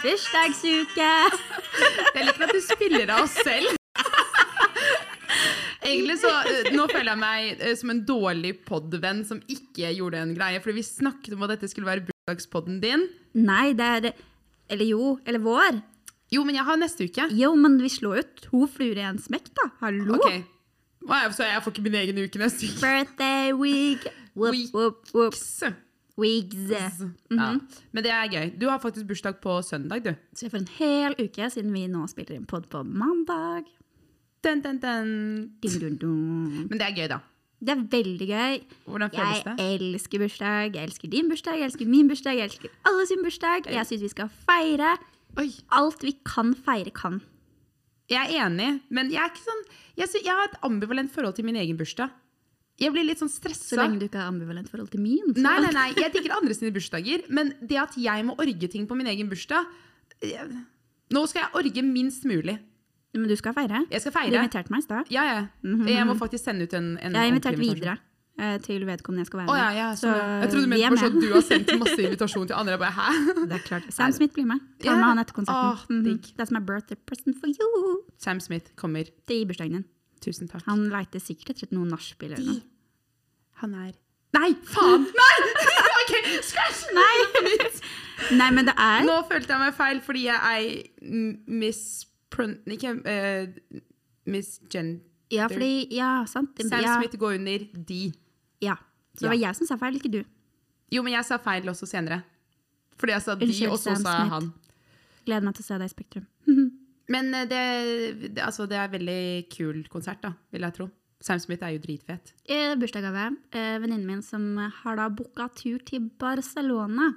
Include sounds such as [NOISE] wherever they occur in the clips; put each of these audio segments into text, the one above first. Bursdagsuke! Jeg liker at du spiller av oss selv. Egentlig så, eh, Nå føler jeg meg eh, som en dårlig podvenn som ikke gjorde en greie. Fordi vi snakket om at dette skulle være bursdagspodden din. Nei, det er Eller jo, eller vår. Jo, men jeg har neste uke. Jo, men vi slår jo to fluer i en smekk, da. Hallo! Ok. Hva er- Så jeg får ikke min egen uke neste uke. Birthday week! Whoop, Weeks. whoop, whoop. Så- Weeks. ja. Mhm. Men det er gøy. Du har faktisk bursdag på søndag, du. Så jeg får en hel uke, siden vi nå spiller inn pod på mandag. Dun, dun, dun. Dun, dun, dun. Men det er gøy, da. Det er veldig gøy. Hvordan føles Jeg det? elsker bursdag. Jeg elsker din bursdag, jeg elsker min bursdag, jeg elsker alle sin bursdag. Jeg syns vi skal feire. Oi. Alt vi kan feire, kan. Jeg er enig, men jeg er ikke sånn Jeg, sy- jeg har et ambivalent forhold til min egen bursdag. Jeg blir litt sånn Så stressa. lenge du ikke har ambivalent forhold til min. så- Nei, nei, nei, jeg digger andre sine bursdager, men det at jeg må orge ting på min egen bursdag jeg- Nå skal jeg orge minst mulig. Men du skal feire. Jeg skal Du feire. inviterte meg i stad. Ja, ja. Jeg må faktisk sende ut en, en mhm. Jeg har invitert ordentlig invitasjon. videre eh, til vedkommende jeg skal være Å med. ja, ja, sånn, ja. Jeg Så trodde du vi er mente bare sånn med. at du har sendt masse invitasjon til andre. Jeg bare, hæ? Det er klart. Sam Smith blir med. Ta med Ja. han etter konserten. Åh, Mhm. digg. That's my birthday present for you. Sam Smith kommer. Til bursdagen din. Tusen takk. Han leiter sikkert etter noe nachspiel eller noe. Han [LAUGHS] er Nei, faen! Nei! OK, scratch! Nei. [LAUGHS] Nei, men det er Nå følte jeg meg feil fordi jeg er mispron... Ikke eh, misgen... Ja, fordi Ja, sant. Det- Sam ja, Smith går under de. ja. Så det var jeg som sa feil, ikke du. Jo, men jeg sa feil også senere. Fordi jeg sa de, Unnskyld, og så Sam sa Smith. jeg han. Gleder meg til å se deg i Spektrum. Men eh, det, det, altså, det er veldig kul konsert, da, vil jeg tro. Sam Smith er jo dritfet. Eh, Bursdagsgave. Eh, Venninnen min som har da booka tur til Barcelona.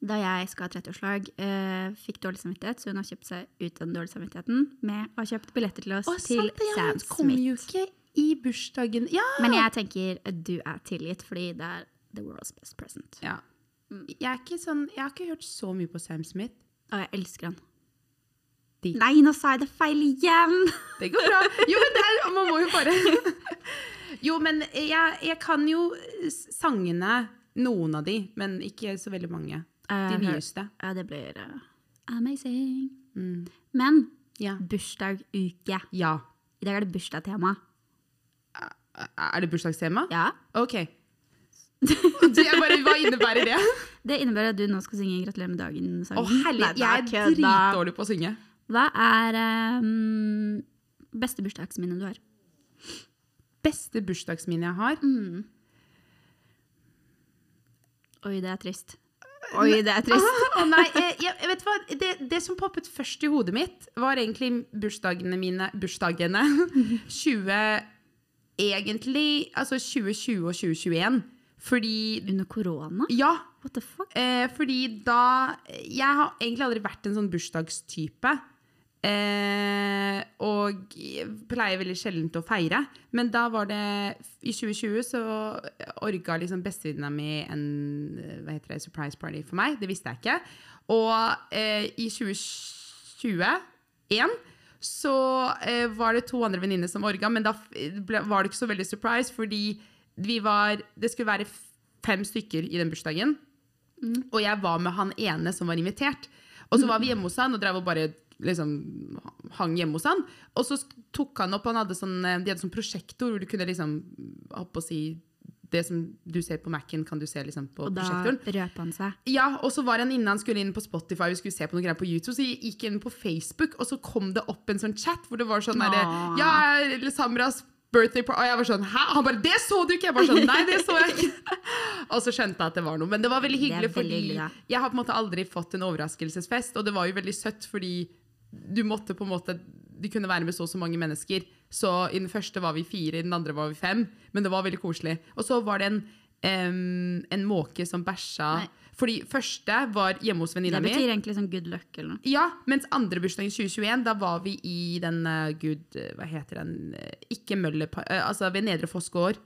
Da jeg skal ha 30-årslag, eh, fikk dårlig samvittighet, så hun har kjøpt seg ut den dårlige samvittigheten med å ha kjøpt billetter til oss til Sam Smith. jo ikke i bursdagen. Ja! Men jeg tenker at du er tilgitt, fordi det er the world's best present. Jeg, er ikke sånn, jeg har ikke hørt så mye på Sam Smith. Og jeg elsker han. De- Nei, nå sa jeg det feil igjen! Det går bra. Jo, men det er, man må jo bare Jo, men jeg, jeg kan jo s- sangene, noen av de, men ikke så veldig mange. Eh, De hør- nyeste. Ja, det blir eh, amazing. Men Ja. bursdagsuke. ja. I dag er det bursdagstema. Er det bursdagstema? Ja. OK. [LAUGHS] Du, jeg bare, hva innebærer det? Å, Det innebærer at du nå skal synge 'Gratulerer med dagen'-sangen. herlig, jeg er dritdårlig på å synge. Hva er eh, mm, beste bursdagsminnet du har? Beste bursdagsminne jeg har? Oi, det er trist. Oi, det er trist. Å nei, jeg, jeg vet hva, det, det som poppet først i hodet mitt, var egentlig bursdagene mine Bursdagene 20 Egentlig altså 2020 og 2021. Fordi Under korona? Ja. What the fuck? Eh, fordi da Jeg har egentlig aldri vært en sånn bursdagstype. Eh, og jeg pleier veldig sjelden å feire. Men da var det I 2020 så orga liksom bestevenninna mi en hva heter det, surprise party for meg. Det visste jeg ikke. Og eh, i 2021 så eh, var det to andre venninner som orga, men da f- ble, var det ikke så veldig surprise, fordi vi var Det skulle være f- fem stykker i den bursdagen. Og jeg var med han ene som var invitert. Og så var vi hjemme hos han og drev og bare liksom hang hjemme hos han. Og så sk- tok han opp Han hadde sånn, eh, de hadde sånn prosjektor hvor du kunne liksom holdt på å si Det som du ser på Mac-en, kan du se liksom på Og da prosjektoren. røp han seg. Ja, og så var han inne, han skulle inn på Spotify, vi skulle se på noen greier på YouTube, så gikk jeg inn på Facebook, og så kom det opp en sånn chat hvor det var sånn derre Åh. Ja, eller Samras birthday party Og jeg var sånn Hæ? Han bare Det så du ikke! Jeg bare sånn Nei, det så jeg ikke. [LAUGHS] og så skjønte jeg at det var noe. Men det var veldig Det er hyggelig, veldig fordi hyggelig, da. jeg har på en måte aldri fått en overraskelsesfest, og det var jo veldig søtt fordi du måtte på en måte Du kunne være med så og så mange mennesker. Så i den første var vi fire, i den andre var vi fem. Men det var veldig koselig. Og så var det en, em, en måke som bæsja Nei. Fordi første var hjemme hos venninna Det mi. betyr egentlig sånn good luck eller noe. Ja, mens andre bursdagen i 2021, da var vi i den eh, Gud, eh, hva heter den eh, Ikke Møllerpark... altså ved Nedre Foss gård.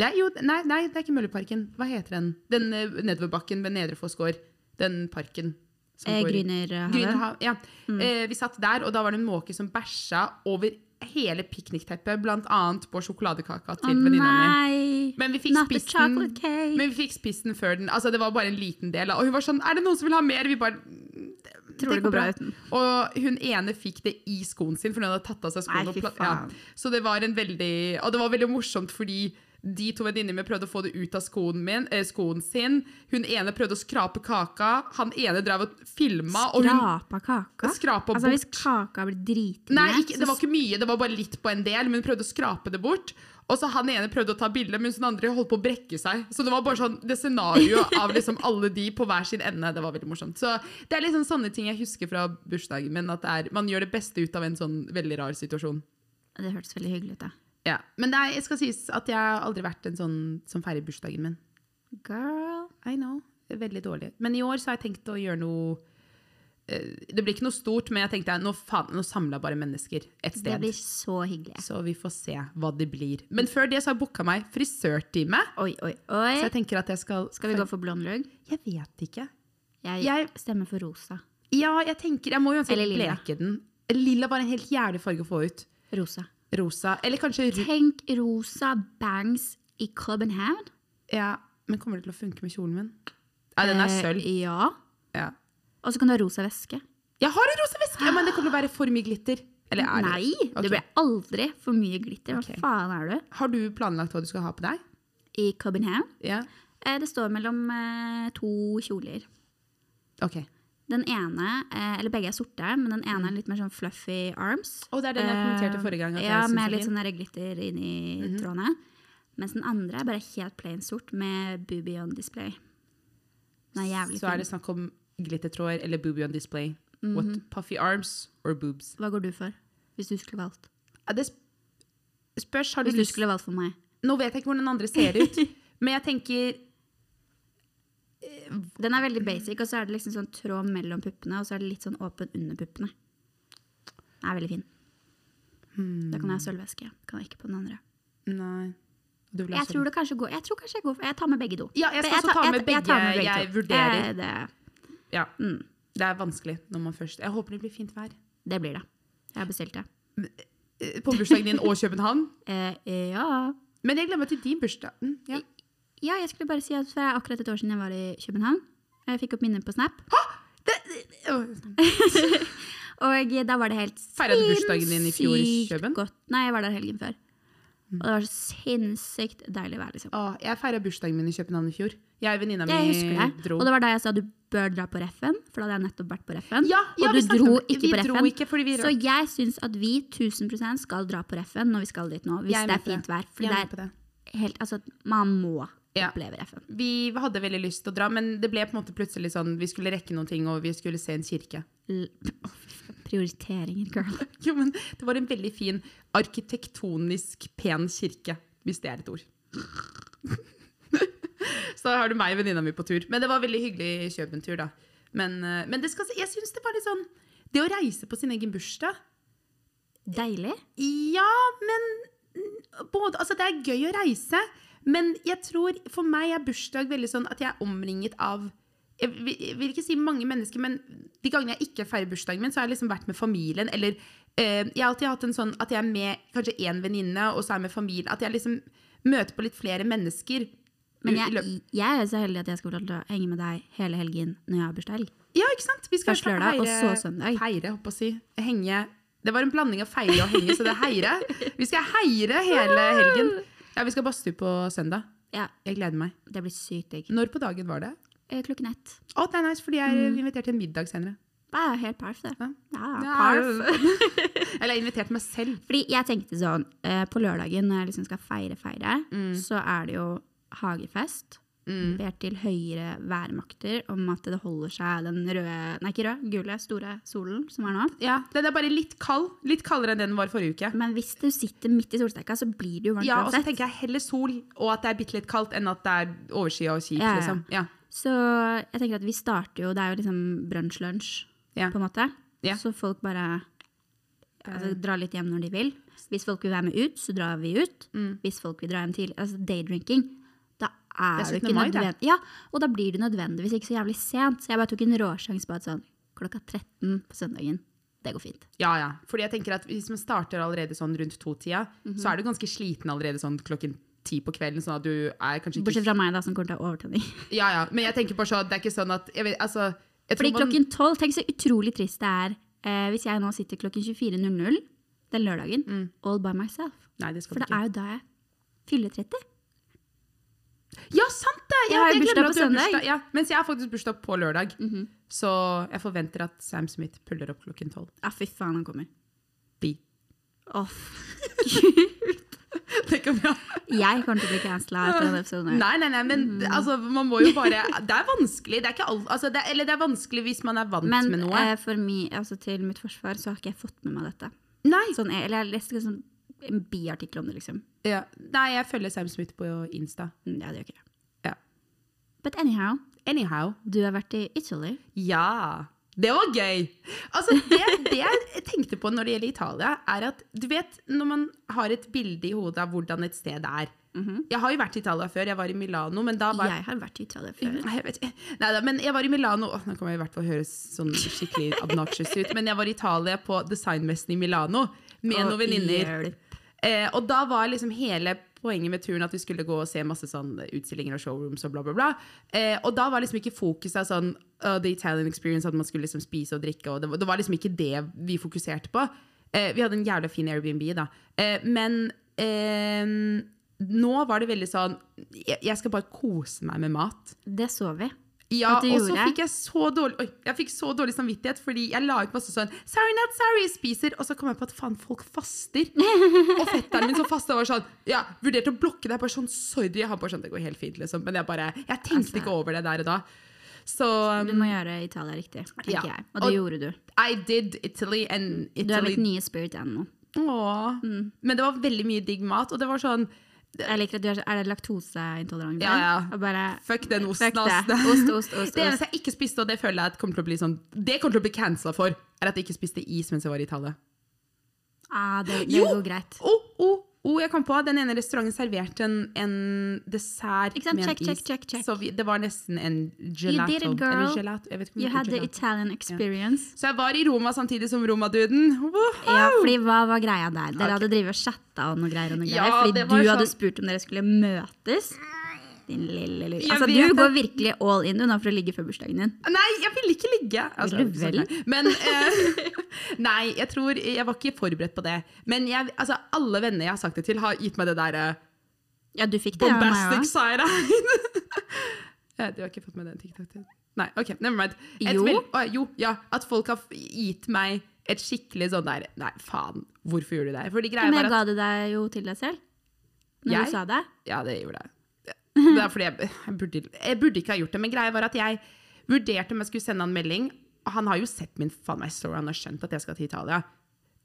Det er, jo, nei, nei, det er ikke Møllerparken. Hva heter den? Den eh, nedoverbakken ved Nedre Foss gård. Den parken. som Eh, Mm. går- Grünerhaven. Grünerhaven, ja. Eh, vi satt der, og da var det en måke som bæsja over hele piknikteppet, blant annet på sjokoladekaka til Å venninna mi. nei! Men vi fikk Not the spist den- chocolate cake! Men vi fikk spist den før den. Altså, det var bare en liten del. av- Og hun var sånn Er det noen som vil ha mer? Vi bare Tror det går bra uten. Og hun ene fikk det i skoen sin, for hun hadde tatt av seg skoen. Nei, og fy pla- faen. Så det var en veldig Og det var veldig morsomt, fordi de to venninnene mine prøvde å få det ut av skoen, min, eh, skoen sin. Hun ene prøvde å skrape kaka. Han ene drev og filma. Og hun, Skrapa kaka? Skrapa altså Hvis kaka blir dritmett Nei, ikke, det var ikke mye, det var bare litt på en del, men hun prøvde å skrape det bort. Og så han ene prøvde å ta bilde, mens den andre holdt på å brekke seg. Så det var bare sånn, det [LAUGHS] scenarioet av liksom alle de på hver sin ende. Det var veldig morsomt. Så det er liksom sånne ting jeg husker fra bursdagen min, at det er, man gjør det beste ut av en sånn veldig rar situasjon. Det hørtes veldig hyggelig ut, da. Ja. Men det er, jeg skal sies at jeg har aldri vært en sånn som feirer bursdagen min. Girl. I know. Det er Veldig dårlig. Men i år så har jeg tenkt å gjøre noe eh, Det blir ikke noe stort, men jeg tenkte nå, faen, nå samler jeg bare mennesker et Det sted. blir så hyggelig. Så vi får se hva det blir. Men før det så har jeg booka meg frisørtime. Oi, oi, Så jeg oi. tenker at jeg skal Skal vi gå for blond lugg? Jeg vet ikke. Jeg, Jeg- stemmer for rosa. Ja, jeg tenker Jeg må uansett Eller lilla. bleke den. Lilla var en helt jævlig farge å få ut. Rosa. Rosa. Eller kanskje ru... Tenk rosa bangs i Copenhagen. Ja. Men kommer det til å funke med kjolen min? Nei, den er Eh, sølv. Ja. Ja. Og så kan du ha rosa veske. Jeg har en rosa veske! Ja, men det kommer til å være for mye glitter. Eller er det Nei, Ok. det blir aldri for mye glitter. Hva Ok. faen er du? Har du planlagt hva du skal ha på deg? I Copenhagen? Ja. Eh, Det står mellom eh, to kjoler. Ok. Den ene, eh, eller begge er sorte, men den Mm. ene er litt mer sånn fluffy arms. Og det er den jeg kommenterte forrige gang. At Ja, jeg synes med litt er Mhm. fin. sånn der glitter inni trådene. Mens den andre er bare helt plain sort med boobie on display. Den er jævlig Mhm. Så er fin. det snakk om glittertråder eller boobie on display. What puffy arms or boobs? Hva går du for, hvis du skulle valgt? Ja, Det sp- spørs har du Hvis du lyst skulle valgt for meg. Nå vet jeg ikke hvordan den andre ser [LAUGHS] ut, men jeg tenker Den er veldig basic, og så er det liksom sånn tråd mellom puppene, og så er det litt sånn åpen under puppene. Den er veldig fin. Da kan jeg ha sølvveske. Kan jeg ikke på den andre. Hmm, Nei. Du vil ha Jeg sånn. tror, det kanskje går, jeg tror kanskje jeg går for Jeg tar med begge to. Ja, jeg skal også tar- ta med jeg- jeg tar begge. to. Jeg vurderer. Eh, det, ja. Mm. Det er vanskelig når man først Jeg håper det blir fint vær. det blir det. Jeg har bestilt det. Eh, På bursdagen [LAUGHS] din og København. Eh, eh, ja. Men jeg glemmer til din bursdag. Mm, ja. ja, jeg skulle bare si at for det er akkurat et år siden jeg var i København. Jeg fikk opp minner på Snap, og da var det helt Feiret du bursdagen din i fjor i sinnssykt Køben? godt. Nei, jeg var der helgen før. Og det var så sinnssykt deilig vær, liksom. Å, jeg feira bursdagen min i København i fjor. Jeg og venninna Jeg husker mi det. dro. Og det var da jeg sa du bør dra på Reffen, for da hadde jeg nettopp vært på Reffen. Ja, ja, og vi du snakket dro om det. ikke Vi på dro Reffen. ikke fordi vi- Så jeg syns at vi 1000 skal dra på Reffen når vi skal dit nå, hvis Jeg er det med er på det. fint vær. For Jeg er med på det det. er helt, altså, man må Ja. oppleve Reffen. Vi hadde veldig lyst til å dra, men det ble på en måte plutselig sånn Vi skulle rekke noen ting, og vi skulle se en kirke. [LAUGHS] L [LAUGHS] Prioriteringer, girl. Jo, men det var en veldig fin arkitektonisk pen kirke, hvis det er et ord. [LAUGHS] Så da har du meg og venninna mi på tur. Men det var veldig hyggelig København-tur, da. Men, eh, men det skal, jeg syns det var litt sånn Det å reise på sin egen bursdag Deilig. Ja, men både, Altså, det er gøy å reise, men jeg tror For meg er bursdag veldig sånn at jeg er omringet av jeg vil jeg vil ikke si mange mennesker, men de gangene jeg ikke feirer bursdagen min, så har jeg liksom vært med familien. Eller eh, jeg har alltid hatt en sånn at jeg er med kanskje én venninne, og så er jeg med familien. At jeg liksom møter på litt flere mennesker. Men i- i jeg, løpet- jeg er så heldig at jeg skal få lov til å henge med deg hele helgen når jeg har bursdag. Ja, ikke sant? Vi skal Først lørdag, og så søndag. Heire, holdt på å si. Henge. Det var en blanding av feire og henge, så det er heire. Vi skal heire hele helgen. Ja, vi skal badstue på søndag. Ja, Jeg gleder meg. det blir sykt digg. Når på dagen var det? Eh, Klokken ett. Å, det er nice, fordi jeg Mm. er invitert til en middag senere. Det er helt parf, det. Ja. Ja, Ja. parf. Eller jeg har invitert meg selv. Fordi jeg tenkte sånn, eh, på lørdagen når jeg liksom skal feire feire, Mm. så er det jo hagefest. Ber til høyere værmakter om at det holder seg den røde, nei ikke rød, gule, store solen som er nå. Ja, Den er bare litt kald. Litt kaldere enn den var forrige uke. Men hvis du sitter midt i solstekka, så blir det jo varmt Ja, og så uansett. tenker jeg heller sol, og at det er bitte litt kaldt, enn at det er overskya og kjipt, Ja, ja. liksom. Ja. Så jeg tenker at vi starter jo, det er jo liksom brunch-lunsj Ja. på en måte. Ja. Så folk bare altså, drar litt hjem når de vil. Hvis folk vil være med ut, så drar vi ut. Hvis folk vil dra hjem tidlig, altså daydrinking, da er Mm. Det er det, 17. ikke mai, det. nødvendig. Ja, og da blir det nødvendigvis ikke så jævlig sent. Så jeg bare tok en råsjanse på at sånn klokka 13 på søndagen, det går fint. Ja, ja. Fordi jeg tenker at Hvis man starter allerede sånn rundt to-tida, Mhm. så er du ganske sliten allerede sånn klokken ti på kvelden. sånn at du er kanskje ikke... Bortsett fra meg, da, som kommer til å ha overtenning. Ja, ja. Men jeg tenker bare sånn, det er ikke sånn at jeg vet, altså, Jeg tror Fordi man- klokken 12, tenk så utrolig trist det er eh, hvis jeg nå sitter klokken 24.00 den lørdagen, Mm. all by myself. Nei, det skal For du det ikke. er jo da jeg fyller 30. Ja, sant det! Jeg Ja, har jo jeg bursdag glemmer på at du har søndag. Mhm. bursdag. Ja, mens jeg har faktisk bursdag på lørdag. Så jeg forventer at Sam Smith puller opp klokken tolv. Ja, fy faen, han kommer. [LAUGHS] De. Åh, Tenk om jeg jeg kommer til å bli cancela etter denne episoden. her. Nei, nei, nei, men Mhm. altså, man må jo [LAUGHS] bare Det er vanskelig. Det er ikke alt, altså, det er, eller det er vanskelig hvis man er vant Men med noe. eh, for mi, altså, til mitt forsvar så har ikke jeg fått med meg dette. nei. Sånn, jeg, eller jeg leste sånn, en biartikkel om det, liksom. Ja. nei, jeg følger Sam Smith på Insta. Mm, Ja, det gjør ikke det. Ja. But anyhow, Anyhow. du har vært i Italy. Ja. Det var gøy! Altså, det, det jeg tenkte på når det gjelder Italia, er at du vet når man har et bilde i hodet av hvordan et sted er Jeg har jo vært i Italia før. Jeg var i Milano, men da var Jeg har vært i Italia før. Nei, jeg vet ikke. Neida, men jeg var i Milano Åh, Nå kan jeg i hvert fall høres sånn skikkelig obnoxious ut, men jeg var i Italia på designmessen i Milano med Å, noen venninner. hjelp. Eh, og da var liksom hele poenget med turen at vi skulle gå og se masse sånn utstillinger og showrooms og bla, bla, bla. Eh, og da var liksom ikke fokuset sånn uh, the Italian experience, at man skulle liksom spise og drikke, og det var, det var liksom ikke det vi fokuserte på. Eh, vi hadde en jævla fin Airbnb da. Eh, men eh, nå var det veldig sånn, jeg, jeg skal bare kose meg med mat. Det så vi. Ja, At du og så gjorde? fikk jeg så dårlig Oi, jeg fikk så dårlig samvittighet fordi jeg la ut masse sånn Sorry, not sorry, spiser. Og så kom jeg på at faen, folk faster. Og fetteren min som fasta, var sånn Ja, vurderte å blokke deg. Bare sånn sorry. Jeg har bare sånn Det går helt fint, liksom. Men jeg bare Jeg tenkte Altså. ikke over det der og da. Så Du um, må gjøre Italia riktig, tenker Ja. jeg. Og det Og- gjorde du. I did Italy and Du er Mm. Italy mitt nye spirit animal. Åh. Men det var veldig mye digg mat, og det var sånn Jeg liker at du er, er det laktoseintolerant? Ja, ja. Og bare, Fuck den osten, Fuck det. ass. Ost, ost, ost, [LAUGHS] Det ost. eneste jeg ikke spiste, og det føler jeg at kommer til å bli sånn Det kommer til å bli cancela for, er at jeg ikke spiste is mens jeg var i Italia. Ah, det, det Jo! går greit. Oh, oh, oh, jeg kom på Den ene restauranten serverte en, en dessert Ikke sant? med en Check, check, is. check, check. Så vi, det var nesten en gelato. did it, girl. Eller gelato. Jeg vet ikke om You det had heter the gelato. Italian experience. Så jeg var i Roma samtidig som Romaduden. Woho! Ja, fordi hva var greia der? Dere hadde drevet og chatta og noe greier. og noe Ja, greier Fordi det du var hadde sånn- spurt om dere skulle møtes. Din lille lille Jeg Altså, vet Du det. går virkelig all in du nå for å ligge før bursdagen din. Nei, jeg ville ikke ligge. Altså, Vil du vel? sånn, nei. Men eh, [LAUGHS] Nei, jeg tror Jeg var ikke forberedt på det. Men jeg, altså, alle venner jeg har sagt det til, har gitt meg det eh, derre Ja, du fikk det. ja, meg bombastic også. [LAUGHS] side Eh, Du har ikke fått med den TikTok-en? Nei, OK, never mind. Et Jo. vel- å, jo, ja, at folk har f- gitt meg et skikkelig sånn der Nei, faen, hvorfor gjorde du det? Fordi greia Men jeg var at ga det deg jo til deg selv. Når Jeg? du sa det. Ja, det gjorde jeg. [LAUGHS] Det er fordi jeg, jeg, burde, jeg burde ikke ha gjort det. Men greia var at jeg vurderte om jeg skulle sende han melding. Han har jo sett min faen meg story, han har skjønt at jeg skal til Italia.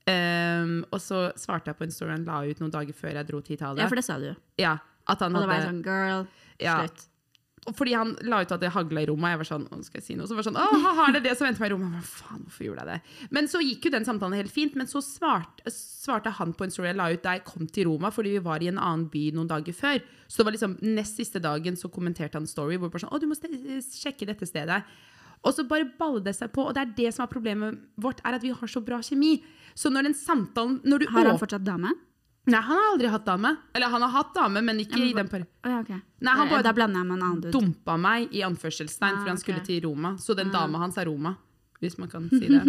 Ehm, og så svarte jeg på en story han la ut noen dager før jeg dro til Italia. Ja, for det sa du jo. Ja, at han Og da var hadde... jeg sånn Girl, Ja. slutt. Og fordi han la ut at det hagla i rommet, og jeg var sånn, «Å, skal jeg si noe? Så var jeg sånn, åh, haha, er det det som venter meg i rommet? Hva faen, hvorfor gjorde jeg det? Men så gikk jo den samtalen helt fint, men så svarte, svarte han på en story jeg la ut da jeg kom til Roma, fordi vi var i en annen by noen dager før. Så det var liksom, nest siste dagen så kommenterte han story, hvor bare sånn, å, du må ste- sjekke dette stedet. Og så bare baller det seg på, og det er det som er problemet vårt, er at vi har så bra kjemi. Så når den samtalen, når du... Har han åp- fortsatt dame? Nei, han har aldri hatt dame. Eller han har hatt dame, men ikke i den perioden Å ja, ok. Nei, han bare da blander jeg med en annen dude. dumpa meg i anførselstegn, Ah, for han skulle ok. Ah. til Roma. Så den dama hans er Roma, hvis man kan [LAUGHS] si det.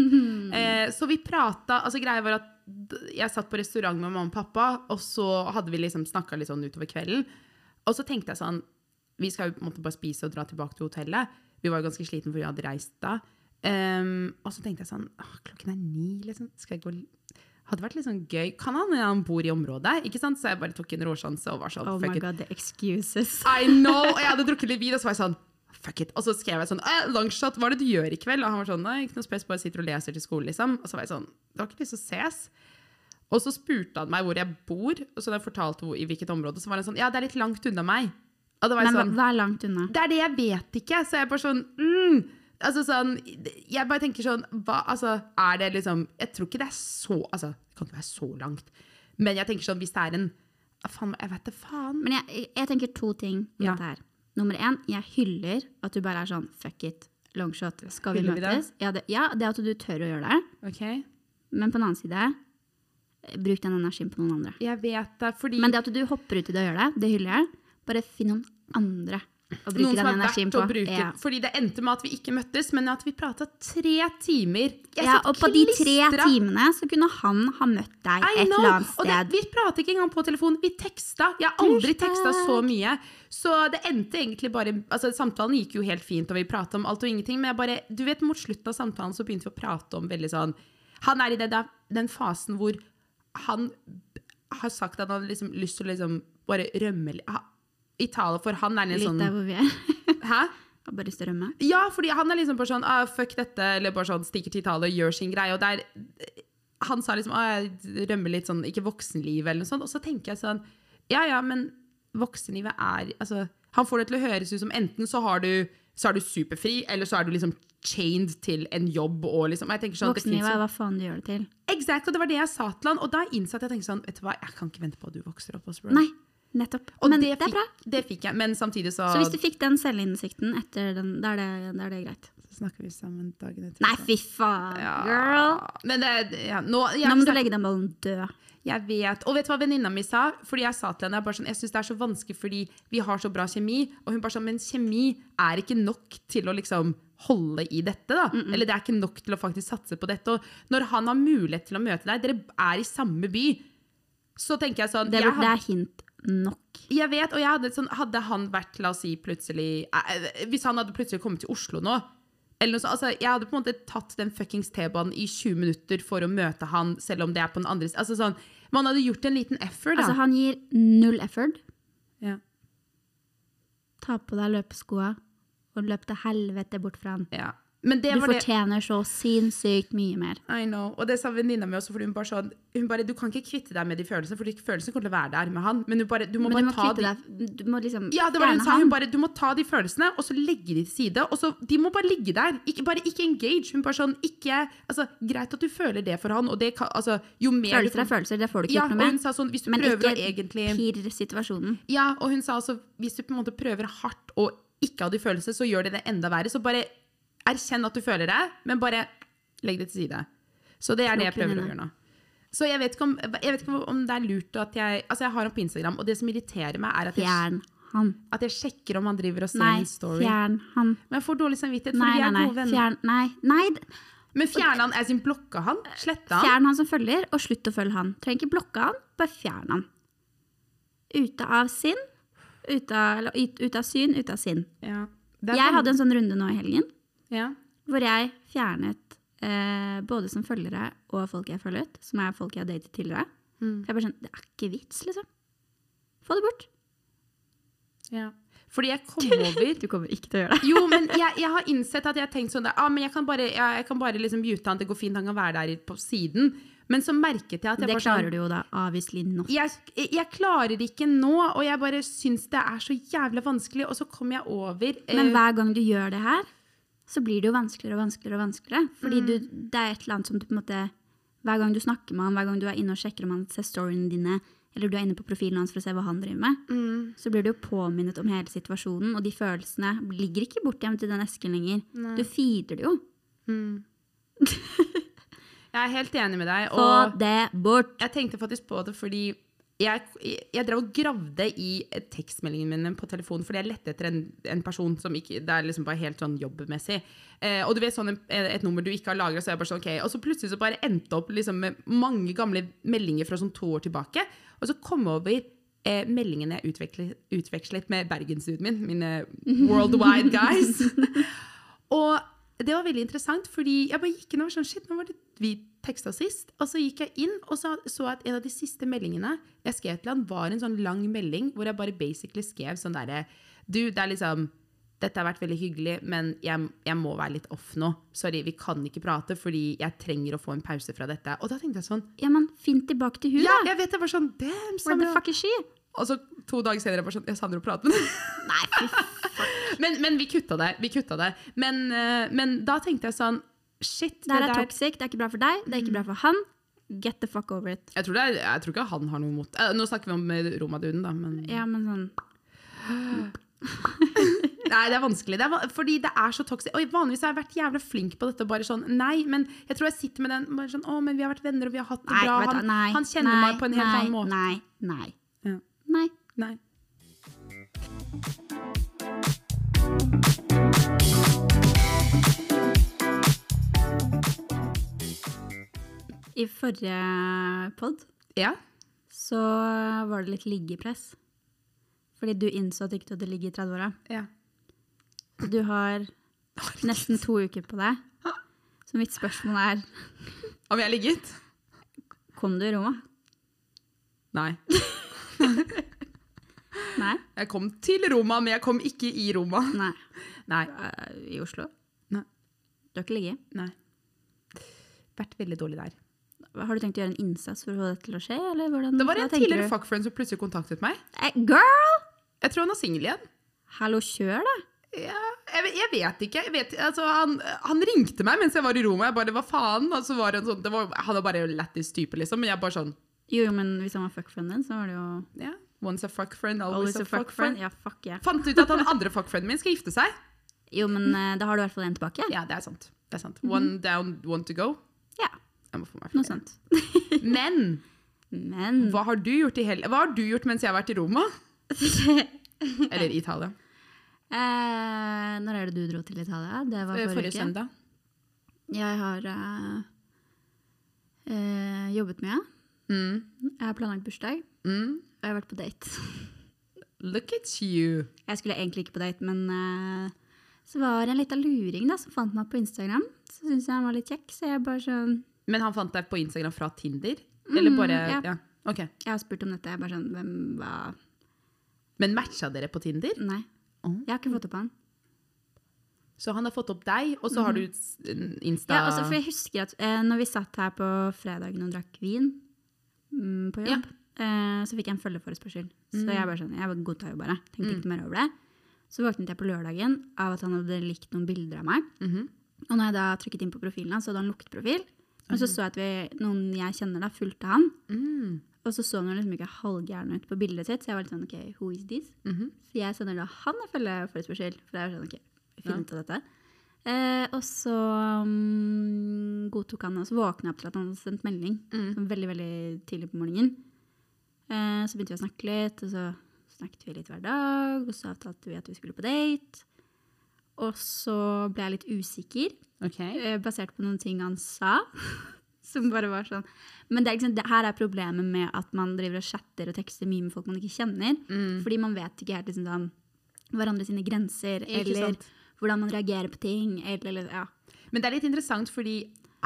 eh, så vi prata altså Greia var at d- jeg satt på restaurant med mamma og pappa, og så hadde vi liksom snakka litt sånn utover kvelden. Og så tenkte jeg sånn Vi skal jo på en måte bare spise og dra tilbake til hotellet. Vi var jo ganske slitne, for vi hadde reist da. Ehm, og så tenkte jeg sånn «Åh, Klokken er ni, liksom. Skal jeg gå l- Hadde vært litt sånn gøy. Kan han han bor i området? Ikke sant? Så jeg bare tok en råsjanse og var sånn Oh my fuck it. god, the excuses. I know! Og jeg hadde drukket litt vin, og så var jeg sånn Fuck it. Og så skrev jeg sånn «Eh, Longshot, hva er det du gjør i kveld? Og han var sånn Nei, ikke noe spes, bare sitter og leser til skolen, liksom. Og så var jeg sånn Du har ikke lyst til å ses? Og så spurte han meg hvor jeg bor, og så da jeg fortalte hvor, i hvilket område, så var han sånn Ja, det er litt langt unna meg. Og da var jeg Men hva sånn hva er langt unna? Det er det jeg vet ikke. Så jeg er bare sånn mm. Altså sånn Jeg bare tenker sånn hva, Altså, er det liksom Jeg tror ikke det er så Altså, det kan ikke være så langt. Men jeg tenker sånn, hvis det er en Faen, jeg vet det faen. Men jeg, jeg tenker to ting om Ja. dette her. Nummer én, jeg hyller at du bare er sånn fuck it, longshot, skal vi Hyller vi det? møtes? Ja det, ja, det at du tør å gjøre det. Ok? Men på den annen side, eh, bruk den energien på noen andre. Jeg vet det, fordi Men det at du hopper uti det og gjør det, det hyller jeg. Bare finn noen andre å bruke Noen som den er energien verdt på. å bruke. Ja. Fordi det endte med at vi ikke møttes, men at vi prata tre timer. Jeg Ja, satt og på de tre klistra. timene så kunne han ha møtt deg I et know. eller annet Og det, sted. vi prater ikke engang på telefon. Vi teksta. Jeg har aldri Hashtag. teksta så mye. Så det endte egentlig bare altså Samtalen gikk jo helt fint, og vi prata om alt og ingenting. Men jeg bare, du vet, mot slutten av samtalen så begynte vi å prate om veldig sånn Han er i den, der- den fasen hvor han har sagt at han har liksom lyst til å liksom bare rømme li- ha- Italia, for han er litt Litt der sånn hvor vi er. [LAUGHS] Hæ? Har bare lyst til å rømme. Ja, fordi han er liksom bare sånn ah, Fuck dette, eller bare sånn stikker til Italia og gjør sin greie. Og der, han sa liksom ah, jeg rømmer litt sånn, ikke voksenlivet eller noe sånt. Og så tenker jeg sånn Ja ja, men voksenlivet er altså, Han får det til å høres ut som enten så har du så er du superfri, eller så er du liksom chained til en jobb og liksom jeg tenker sånn, det finnes Voksenlivet jo- er hva faen du gjør det til. Exakt, og det var det jeg sa til han. Og da innså jeg at jeg tenkte sånn Vet du hva, jeg kan ikke vente på at du vokser opp. Også, bro. Nei, nettopp. og Men det, det, fikk, er bra. det fikk jeg. Men samtidig så, Så hvis du fikk den selvinnsikten etter den, da er det, da er det greit. så snakker vi sammen dagen etter. Nei, så- fy faen, Ja. girl! Men det, ja, nå, jeg, Nå må du legge den ballen død. jeg vet. Og vet du hva venninna mi sa? Fordi Jeg sa til henne, jeg, bare sånn, jeg synes det er så vanskelig fordi vi har så bra kjemi. Og hun bare sånn, men kjemi er ikke nok til å liksom holde i dette. da. Eller det er ikke nok til å faktisk satse på dette. Og når han har mulighet til å møte deg, dere er i samme by, så tenker jeg sånn Det, er- jeg, det had- er hint nok. jeg vet, og jeg hadde, et sånn, hadde han vært, la oss si, plutselig eh, Hvis han hadde plutselig kommet til Oslo nå eller noe sånt, altså, jeg hadde på en måte tatt den fuckings T-banen i 20 minutter for å møte han, selv om det er på den andre siden. Altså, sånn, man hadde gjort en liten effort. Da. Altså, han gir null effort. Ja. Ta på deg løpeskoa og løp til helvete bort fra han. ja. Men det Du var det fortjener så sinnssykt mye mer. I know. Og det sa venninna mi også, fordi hun bare sånn hun bare, Du kan ikke kvitte deg med de følelsene, for de følelsene kommer til å være der med han. Men du, bare, du må Men du bare må ta kvitte de deg Du må liksom Ja, det var det hun fjerne sa. han. Hun bare, du må ta de følelsene, og så legge de til side. Og så, De må bare ligge der. Ikke, bare ikke engage. Hun bare sånn, ikke, altså, Greit at du føler det for han, og det kan, altså, jo mer du- Følelser er følelser, det får du ikke Ja, gjort og noe hun med. sa sånn, hvis du Men prøver ikke å egentlig pirr situasjonen. Ja, og hun sa også hvis du på en måte prøver hardt og ikke har de følelsene, så gjør det det enda verre. Så bare erkjenn at du føler det, men bare legg det til side. Så det er det jeg Klok prøver å venninne. gjøre nå. Så jeg vet, ikke om, jeg vet ikke om det er lurt at jeg Altså, jeg har ham på Instagram, og det som irriterer meg, er at jeg, Fjern han. at jeg sjekker om han driver og ser Nei, min story. fjern han. Men jeg får dårlig samvittighet, Nei, fordi vi nei, er nei. gode venner. Fjern, nei, nei. d- Men fjerna han, as in blokka han? Sletta han? fjern han som følger, og slutt å følge han. Trenger ikke blokke han, bare fjern han. Ute av sinn, ute av, eller, ut, ute av syn, ute av sinn. Ja. Det er Jeg vel- hadde en sånn runde nå i helgen, ja. hvor jeg fjernet eh, både som følgere og folk jeg følger ut, som er folk jeg har datet tidligere. Mm. For jeg bare sånn, det er ikke vits, liksom. Få det bort. ja. Fordi jeg kom over [LAUGHS] Du kommer ikke til å gjøre det. Jo, men jeg, jeg har innsett at jeg har tenkt sånn der, ah, men jeg kan bare, jeg, jeg kan bare liksom mute han, det går fint, han kan være der i- på siden. Men så merket jeg at jeg Det bare klarer sånn, du jo da, obviously not. jeg, jeg klarer det ikke nå, og jeg bare syns det er så jævla vanskelig. Og så kom jeg over eh, Men hver gang du gjør det her, så blir det jo vanskeligere og vanskeligere. og vanskeligere. Fordi du, det er et eller annet som du på en måte Hver gang du snakker med han, hver gang du er inne og sjekker om han ser storyene dine, eller du er inne på profilen hans for å se hva han driver med, mm, så blir du jo påminnet om hele situasjonen, og de følelsene ligger ikke bortgjemt i den esken lenger. Du feeder det jo. mm. Jeg er helt enig med deg. Få Og det bort. jeg tenkte faktisk på det fordi jeg, jeg drev og gravde i tekstmeldingene mine på telefonen fordi jeg lette etter en, en person som ikke Det er liksom bare helt sånn jobbmessig. Eh, og du vet sånn en, et nummer du ikke har lagra, så jeg bare sånn, ok. Og så plutselig så bare endte opp liksom med mange gamle meldinger fra sånn to år tilbake. Og så kom jeg over eh, meldingene jeg utvekslet, utvekslet med bergensduden min, mine worldwide guys. Og det var veldig interessant, fordi jeg bare gikk inn og var sånn, shit, nå var det vi teksta sist. Og så gikk jeg inn og så, så at en av de siste meldingene jeg skrev til han, var en sånn lang melding hvor jeg bare basically skrev sånn derre Du, det er liksom dette har vært veldig hyggelig, men jeg, jeg må være litt off nå. Sorry, vi kan ikke prate, fordi jeg trenger å få en pause fra dette. Og da tenkte jeg sånn Ja, men finn tilbake til hun, Ja, da. jeg vet det! Jeg var sånn Damn, What the Sandra. fuck is she? Og så to dager senere bare sånn Jeg savner å prate med deg. [LAUGHS] Nei, fy Men, men vi kutta det. Vi kutta det. Men, eh, men da tenkte jeg sånn Shit, Det her er toxic, det er ikke bra for deg, det er ikke bra for han. Get the fuck over it. Jeg tror, det er, jeg tror ikke han har noe imot eh, Nå snakker vi om eh, romaduden, da. Men, Ja, men sånn Nei, det er vanskelig. Det er, va- fordi det er så toxic. Og vanligvis har jeg vært jævla flink på dette. Bare sånn, nei, men jeg tror jeg sitter med den bare sånn Å, men vi har vært venner, og vi har hatt det Nei, bra. vet du hva, Han, nei, han kjenner nei, meg på en helt nei, annen måte. Nei, nei, Ja. nei. Nei. I forrige pod Ja. så var det litt liggepress. Fordi du innså at du ikke hadde ligget i 30-åra. ja. Du har [LAUGHS] nesten to uker på deg. Så mitt spørsmål er Om jeg har ligget? kom du i Roma? Nei. Nei? Jeg kom til Roma, men jeg kom ikke i Roma. Nei. Nei. Eh, I Oslo? Nei. Du har ikke ligget? Nei. Vært veldig dårlig der. Har du tenkt å gjøre en innsats for å få det til å skje? Eller hvordan, Det var hva en tenker tidligere du? fuckfriend som plutselig kontaktet meg. Eh, Girl! Jeg tror han er singel igjen. Hallo, kjør, da! Ja, jeg, ve- jeg vet ikke. Jeg vet, altså, han, han ringte meg mens jeg var i Roma. Jeg bare, hva faen? Og så var han sånn, det var, han er bare en lættis type, liksom. Men jeg bare sånn, Jo, jo, men hvis han var fuckfrienden din, så var det jo ja, once a fuck friend, always, always a fuck, friend. fuckfriend. Ja, fuck yeah. Fant ut at han andre fuckfrienden min skal gifte seg. Jo, men eh, da har du i hvert fall en tilbake. Ja, det er sant. Det er sant. One down, one to go. Ja, Jeg må få meg Mhm. noe flere. sånt. [LAUGHS] Men, Men hva har du gjort i hel... Hva har du gjort mens jeg har vært i [LAUGHS] Roma? Eller Italia? eh, Når er det du dro til Italia? Det var forrige, Eh, Forrige uke. søndag. Jeg har eh, eh, jobbet mye. Mm. Jeg har planlagt bursdag, Mm. og jeg har vært på date. Look at you. Jeg skulle egentlig ikke på date, men eh, så var det en liten luring da, som fant meg på Instagram. Så syntes jeg han var litt kjekk, så jeg bare sånn Men han fant deg på Instagram fra Tinder? Eller bare ja. Mm, Ja. Ok. Jeg har spurt om dette. Jeg er bare sånn Hvem hva? Men matcha dere på Tinder? Nei. Mm. Jeg har ikke fått opp han. Så han har fått opp deg, og så har du s- en Insta Ja, altså, for jeg husker at eh, når vi satt her på fredagen og drakk vin mm, på jobb, eh, så fikk jeg en følgeforespørsel. Så jeg bare sånn, jeg bare godtar jo bare. Tenkte ikke mer over det. Så våknet jeg på lørdagen av at han hadde likt noen bilder av meg. Mhm. Og når jeg da trykket inn på profilen hans, så hadde han luktprofil. Men så så jeg at vi, noen jeg kjenner da, fulgte han. Mm. Og så så han jo liksom ikke halvgæren ut på bildet sitt, så jeg var litt sånn OK, who is this? Mhm. Så jeg sender da han en følgeforespørsel, for jeg var sånn OK, vi finner ut av dette. Eh, og så mm, godtok han, og så våkna jeg opp til at han hadde sendt melding Mm. sånn veldig veldig tidlig på morgenen. Eh, så begynte vi å snakke litt, og så snakket vi litt hver dag, og så avtalte vi at vi skulle på date. Og så ble jeg litt usikker Ok. eh, basert på noen ting han sa. [LAUGHS] Som bare var sånn Men det er liksom, det her er problemet med at man driver og chatter og tekster mye med folk man ikke kjenner. Mm. Fordi man vet ikke helt liksom, sånn, hverandre sine grenser, Ikke eller sant. hvordan man reagerer på ting. Eller, eller, ja. Men det er litt interessant, fordi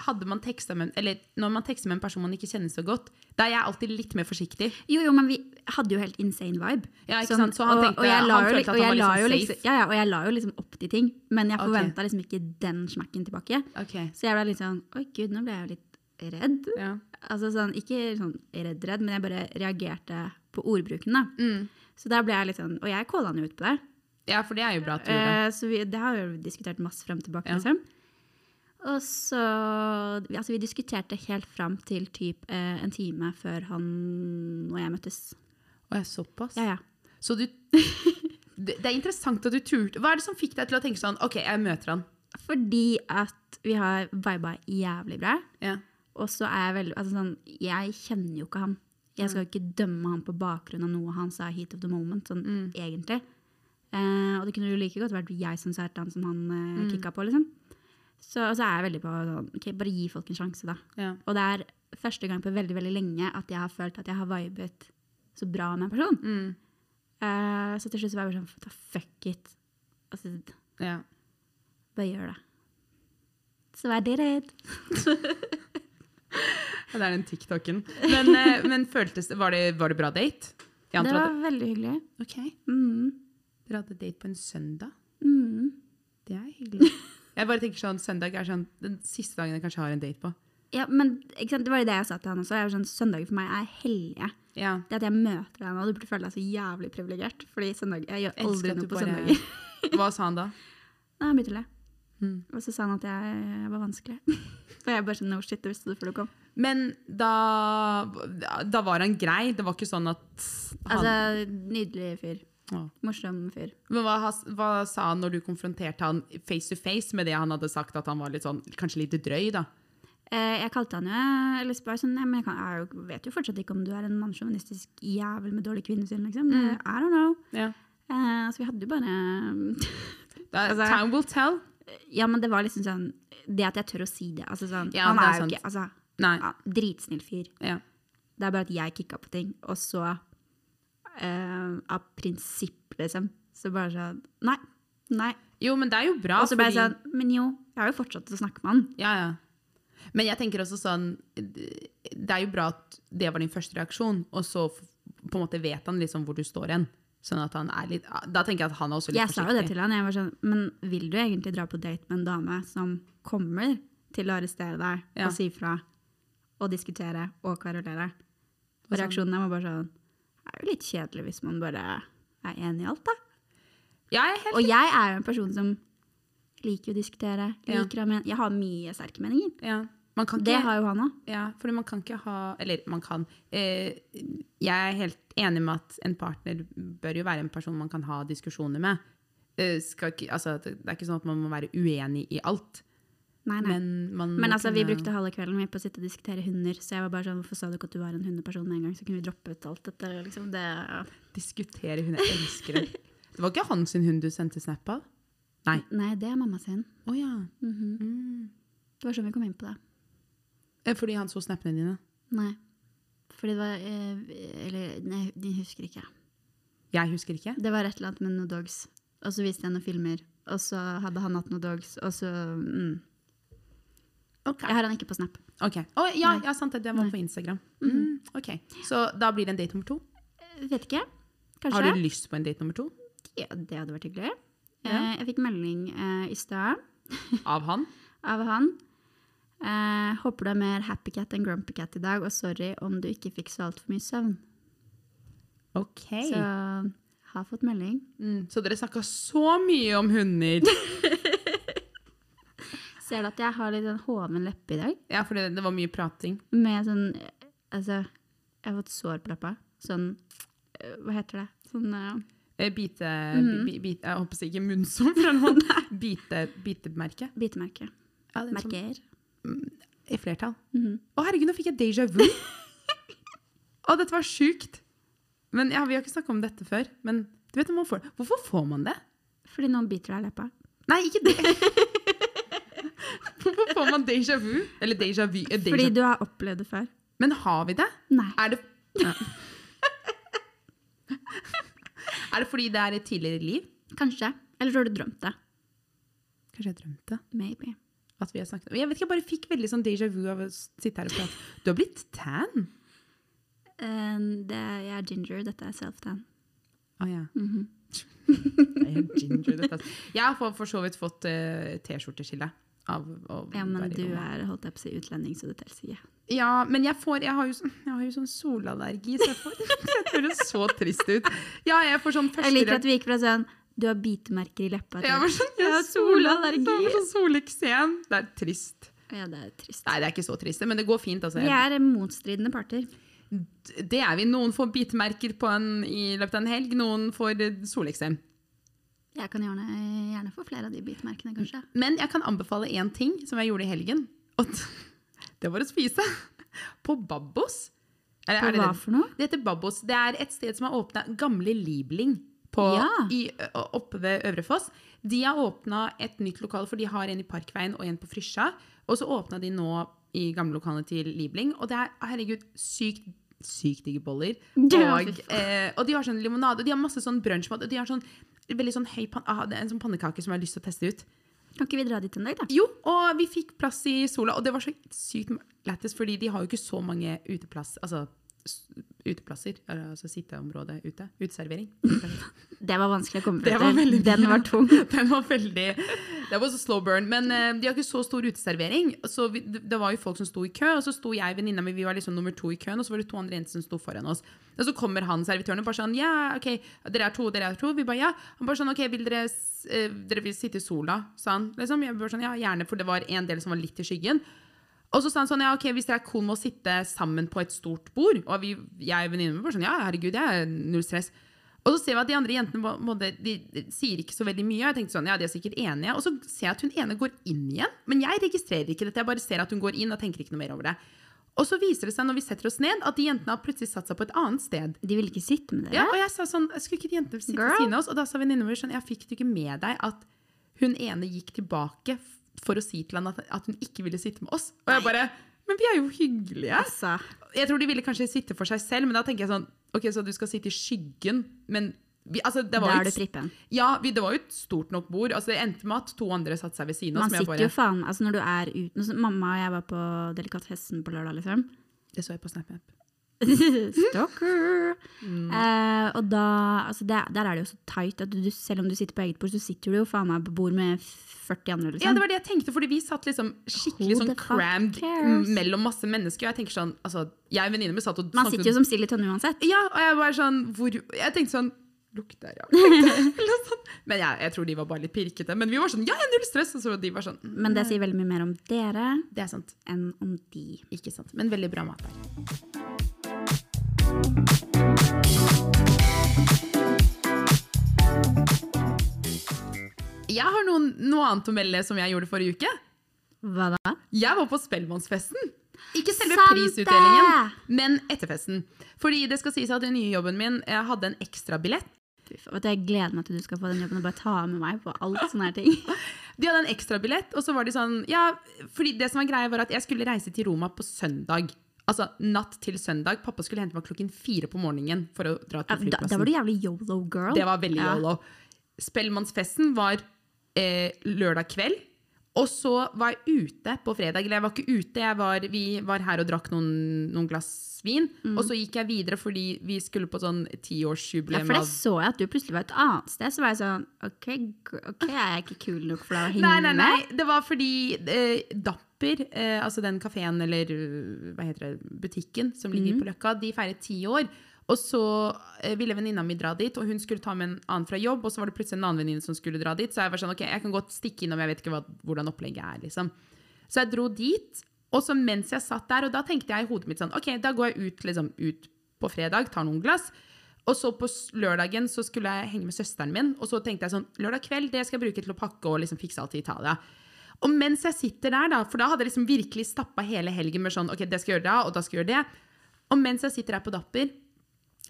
hadde man teksta med, eller når man tekster med en person man ikke kjenner så godt, da er jeg alltid litt mer forsiktig. Jo, jo, men vi hadde jo helt insane vibe. Ja, ikke sant? Så han og, tenkte- og jeg la han jo, følte li- at og han jeg var la liksom jo safe. liksom, ja, ja, og jeg la jo liksom opp til ting, men jeg Ok. forventa liksom ikke den smakken tilbake. Ok. Så jeg ble litt sånn Oi, gud, nå ble jeg jo litt redd. Ja. Altså sånn, ikke sånn redd-redd, men jeg bare reagerte på ordbruken, da. Mm. Så der ble jeg litt sånn Og jeg calla han jo ut på det. ja, for det er jo bra at du gjorde det. Eh, så vi, det har vi jo diskutert masse frem og tilbake, Ja. liksom. Og så Altså, vi diskuterte helt fram til typ eh, en time før han og jeg møttes. Å, jeg er såpass. Ja, ja. Så du [LAUGHS] Det det er interessant at du turte. Hva er det som fikk deg til å tenke sånn OK, jeg møter han. Fordi at vi har viba jævlig bra. Ja. Og så er jeg veldig altså sånn, Jeg kjenner jo ikke han. Jeg Mm. skal jo ikke dømme han på bakgrunn av noe han sa hit of the moment, sånn Mm. egentlig. Eh, og det kunne jo like godt vært jeg som særte han som han eh, Mm. kicka på, liksom. Så, og så er jeg veldig på sånn ok, Bare gi folk en sjanse, da. ja. Og det er første gang på veldig veldig lenge at jeg har følt at jeg har vibet så bra med en person. Mm. Eh, så til slutt så var jeg bare sånn Fuck it. Altså, ja. bare gjør det. Så I did it. Ja, Det er den TikToken. Men, eh, men føltes, var, det, var det bra date? Jeg Det antar var at veldig hyggelig. Ok, Mm. Dere hadde date på en søndag? Mm. Det er [LAUGHS] hyggelig. Jeg bare tenker sånn, Søndag er sånn, den siste dagen jeg kanskje har en date på. Ja, men ikke sant? Det var jo det jeg sa til han også. Jeg var sånn, Søndager for meg er hellige. Ja. Det at jeg møter deg nå, du burde føle deg så jævlig privilegert. Fordi søndag, jeg gjør Jeg elsker aldri at noe du på bare- [LAUGHS] søndager. Hva sa han da? Nei, han begynte å le. Mm. Og så sa han at jeg, jeg var vanskelig. [LAUGHS] Og jeg bare sånn no shit, det visste du før du kom. Men da, da var han grei. Det var ikke sånn at han Altså, nydelig fyr. Å. Morsom fyr. Men hva, hva sa han når du konfronterte han face to face med det han hadde sagt, at han var litt sånn, kanskje litt drøy, da? Eh, jeg kalte han jo eller så bare sånn, nei, men jeg, kan, jeg er jo- vet jo fortsatt ikke om du er en mannssjåvinistisk Mm. jævel med dårlig kvinnesyn, liksom. Det- I don't know. Ja. Eh, så vi hadde jo bare [LAUGHS] Det er, Altså- time will tell. Ja, men det var liksom sånn Det at jeg tør å si det. Altså sånn, Ja, han det er er jo sant. ikke altså, Nei. ja, Dritsnill fyr. Ja. Det er bare at jeg kicka på ting, og så eh, Av prinsipp, liksom. Så bare sånn Nei. Nei. Jo, men det er jo bra. Og så ble jeg fordi- sånn Men jo, jeg har jo fortsatt å snakke med han. Ja, ja. Men jeg tenker også sånn Det er jo bra at det var din første reaksjon, og så f- på en måte vet han liksom hvor du står hen. Sånn at han er litt Da tenker jeg at han er også litt Jeg sa jo det til han. Jeg var sånn Men vil du egentlig dra på date med en dame som kommer til å arrestere deg Ja. og si fra og diskutere og kverulere? Og Og sånn- reaksjonen der var bare sånn Det er jo litt kjedelig hvis man bare er enig i alt, da. Ja, jeg er helt Og jeg er jo en person som liker å diskutere. Ja. Liker å men jeg har mye sterke meninger. ja. Man kan Det ikke, har jo han òg. ja, fordi man kan ikke ha Eller man kan eh, Jeg er helt enig med at en partner bør jo være en person man kan ha diskusjoner med. Eh, skal ikke, altså, det det er ikke sånn at man må være uenig i alt. Nei, nei. Men, man må Men altså, vi kunne- brukte halve kvelden min på å sitte og diskutere hunder, så jeg var bare sånn Hvorfor sa du ikke at du var en hundeperson med en gang? Så kunne vi droppe ut alt dette, liksom. Det Diskutere hund. Jeg elsker det. Det var ikke hans hund du sendte snap av? Nei. Nei, det er mamma sin. Å ja. Mhm. Mm. Det var sånn vi kom inn på det. Eh, Fordi han så snappene dine? Nei. Fordi det var eh, Eller nei, jeg husker ikke. Jeg husker ikke. Det var et eller annet med noen dogs. Og så viste jeg noen filmer, og så hadde han hatt noen dogs, og så mm. Ok. Jeg har han ikke på Snap. Ok. Å, ja, Nei. ja, sant det. Det var Nei. på Instagram. Mm. Ok. Så da blir det en date nummer to? Eh, Vet ikke. Kanskje. Har du lyst på en date nummer to? Ja, det hadde vært hyggelig. Ja. Eh, jeg fikk melding eh, i stad Av han? av han. Eh, håper du er mer happy cat enn grumpy cat i dag, og sorry om du ikke fikk så altfor mye søvn. [LAUGHS] Ok. Så Så, har fått melding. mm. så dere snakka så mye om [LAUGHS] hunder. Ser du at jeg har litt sånn hoven leppe i dag? ja, for det, det var mye prating. Med sånn eh, Altså, jeg har fått sår på leppa. Sånn eh, Hva heter det? Sånn eh, Eh, bite, bi, Mhm. bi, bite Jeg håper ikke munnsår fra [LAUGHS] noen. Bite, bitemerke. bitemerke. Ja, det er sånn- Merker. I flertall. Mhm. Å, herregud, nå fikk jeg déjà vu! Å, dette var sjukt! Men ja, Vi har ikke snakka om dette før. Men du vet når man får det. Hvorfor får man det? Fordi noen biter deg i leppa. Nei, ikke det! Hvorfor får man déjà vu? Eller déjà vu eh, déjà- Fordi du har opplevd det før. Men har vi det? Nei. Er det ja. [LAUGHS] Er det fordi det er et tidligere liv? Kanskje. Eller så har du drømt det. Kanskje jeg drømte Maybe. at vi har snakket om Jeg vet ikke, jeg bare fikk veldig sånn déjà vu av å sitte her og prate. Du har blitt tan! Eh, det, jeg er ginger, dette er self-tan. Å ja. Mhm. Jeg er ginger, dette, altså. Jeg har for, for så vidt fått eh, T-skjorteskille. Av, å Ja, men være i du rommet. er holdt jeg på å si utlending, så det teller ikke. Ja, men jeg, får, jeg, har jo, sånn- jeg har jo sånn solallergi, så jeg, får, [LAUGHS] jeg høres så trist ut. Ja, jeg får sånn første Jeg liker at vi gikk fra sånn du har bitemerker i leppa til Jeg var sånn, Jeg har solallergi. Jeg har sånn soleksem. Det er trist. Ja, det er trist. Nei, det er ikke så trist, men det går fint. Altså. Vi er motstridende parter. Det er vi. Noen får bitemerker på en, i løpet av en helg, noen får eh, soleksem. Jeg kan gjerne, gjerne få flere av de bitemerkene, kanskje. Men jeg kan anbefale én ting som jeg gjorde i helgen. Og t- [LAUGHS] det var å spise på Babbos. Eller På er det hva det? for noe? Det heter Babbos. Det er et sted som har åpna gamle Liebling på, Ja. i, ø- oppe ved Øvrefoss. De har åpna et nytt lokal, for de har en i Parkveien og en på Frysja. Og så åpna de nå i gamlelokalet til Liebling, og det er herregud sykt Sykt digge boller. [LAUGHS] Ja, Og, fy eh, og de har sånn limonade, og de har masse sånn brunsjmat. Og de har sånn veldig sånn høy pan ah, det er en sånn pannekake som jeg har lyst til å teste ut. Kan ikke vi dra dit en dag, da? Jo, og vi fikk plass i sola, og det var så sykt lættis, fordi de har jo ikke så mange uteplass, altså s- uteplasser, eller altså sitteområde ute, uteservering. [LAUGHS] Det var vanskelig å komme Det frem var til. veldig Den mye. var tung. Den var veldig, det var så slow burn, men eh, de har ikke så stor uteservering, så vi, det det var jo folk som sto i kø, og så sto jeg, venninna mi, vi var liksom nummer to i køen, og så var det to andre jenter som sto foran oss. Og så kommer han, servitøren, og bare sånn, ja, ok, dere er to, dere er to, vi bare, ja. Han bare sånn, ok, vil dere, s- eh, dere vil sitte i sola, sa han, liksom, jeg bare sånn, ja, gjerne, for det var en del som var litt i skyggen. Og så sa han sånn, ja, ok, hvis dere er cool med å sitte sammen på et stort bord, og vi, jeg og venninnen min var sånn, ja, herregud, jeg er null stress. Og så ser vi at de andre jentene på en måte, de, de sier ikke så veldig mye, og jeg tenkte sånn, ja, de er sikkert enige, og så ser jeg at hun ene går inn igjen, men jeg registrerer ikke dette, jeg bare ser at hun går inn og tenker ikke noe mer over det. Og så viser det seg når vi setter oss ned, at de jentene har plutselig satt seg på et annet sted. De ville ikke sitte med Ja, dere. og jeg sa sånn, skulle ikke de jentene sitte Girl. ved siden av oss? Og da sa venninnen min sånn, jeg fikk du ikke med deg at Hun ene gikk tilbake f- for å si til henne at, at hun ikke ville sitte med oss. Og jeg bare Men vi er jo hyggelige! Altså, Jeg tror de ville kanskje sitte for seg selv, men da tenker jeg sånn Ok, så du skal sitte i skyggen, men vi, altså, det var da jo er du et- prippen. Ja, vi, det var jo et stort nok bord. Altså, det endte med at to andre satte seg ved siden av. Man som jeg sitter bare, jo faen altså Når du er uten så Mamma og jeg var på Delikatessen på lørdag, liksom. Det så jeg på SnapMap. Sånn. Stalker! Mm. Eh, og da Altså, det, der er det jo så tight at du, selv om du sitter på eget bord, så sitter du jo faen meg på bord med 40 andre, liksom. Ja, det var det jeg tenkte, fordi vi satt liksom skikkelig Who sånn the fuck crammed cares? mellom masse mennesker. Og jeg tenker sånn, altså, jeg og venninnen min satt og Man sitter jo som sild i tønne uansett. Ja, og jeg var sånn, hvor Jeg tenkte sånn Lukt der, ja. Eller sånn. Men jeg, jeg tror de var bare litt pirkete. Men vi var sånn, ja, ja, null stress. Og så de var sånn, mm, Men det sier veldig mye mer om dere det er sant. enn om de. Ikke sant. Men veldig bra mat der. Jeg har noen, noe annet å melde som jeg gjorde forrige uke. Hva da? Jeg var på Spellemannsfesten. Ikke selve Sant det! prisutdelingen, men etterfesten. Fordi det skal sies at den nye jobben min eh, hadde en ekstrabillett. Fy faen, vet du, Jeg gleder meg til du skal få den jobben og bare ta med meg på alt [LAUGHS] sånne her ting. De hadde en ekstrabillett, og så var de sånn Ja, fordi det som var greia, var at jeg skulle reise til Roma på søndag. Altså natt til søndag. Pappa skulle hente meg klokken fire på morgenen for å dra til Ja, da, da flyplassen. var du jævlig yolo girl. Det var veldig Ja. yolo. Spellemannsfesten var eh, lørdag kveld. Og så var jeg ute på fredag. Eller jeg var ikke ute, jeg var, vi var her og drakk noen, noen glass vin. Og så gikk jeg videre fordi vi skulle på sånn Mm. Ja, tiårsjubileum for det av så jeg at du plutselig var et annet sted. Så var jeg sånn OK, gr- ok, jeg er ikke kul nok for deg å henge Nei, nei, med. nei. Det var fordi eh, Dapper, eh, altså den kafeen eller uh, hva heter det, butikken som ligger på Løkka, de feiret ti år. Og så eh, ville venninna mi dra dit, og hun skulle ta med en annen fra jobb. Og så var det plutselig en annen venninne som skulle dra dit. Så jeg var sånn, ok, jeg kan godt stikke innom, jeg vet ikke hva, hvordan opplegget er, liksom. Så jeg dro dit, og så mens jeg satt der, og da tenkte jeg i hodet mitt sånn, ok, da går jeg ut, liksom, ut på fredag, tar noen glass. Og så på s- lørdagen så skulle jeg henge med søsteren min, og så tenkte jeg sånn, lørdag kveld, det skal jeg bruke til å pakke og liksom fikse alt i Italia. Og mens jeg sitter der da, for da hadde jeg liksom virkelig stappet hele helgen med sånn, ok, det skal jeg gjøre da, og da skal jeg gjøre det. Og mens jeg sitter der på dapper,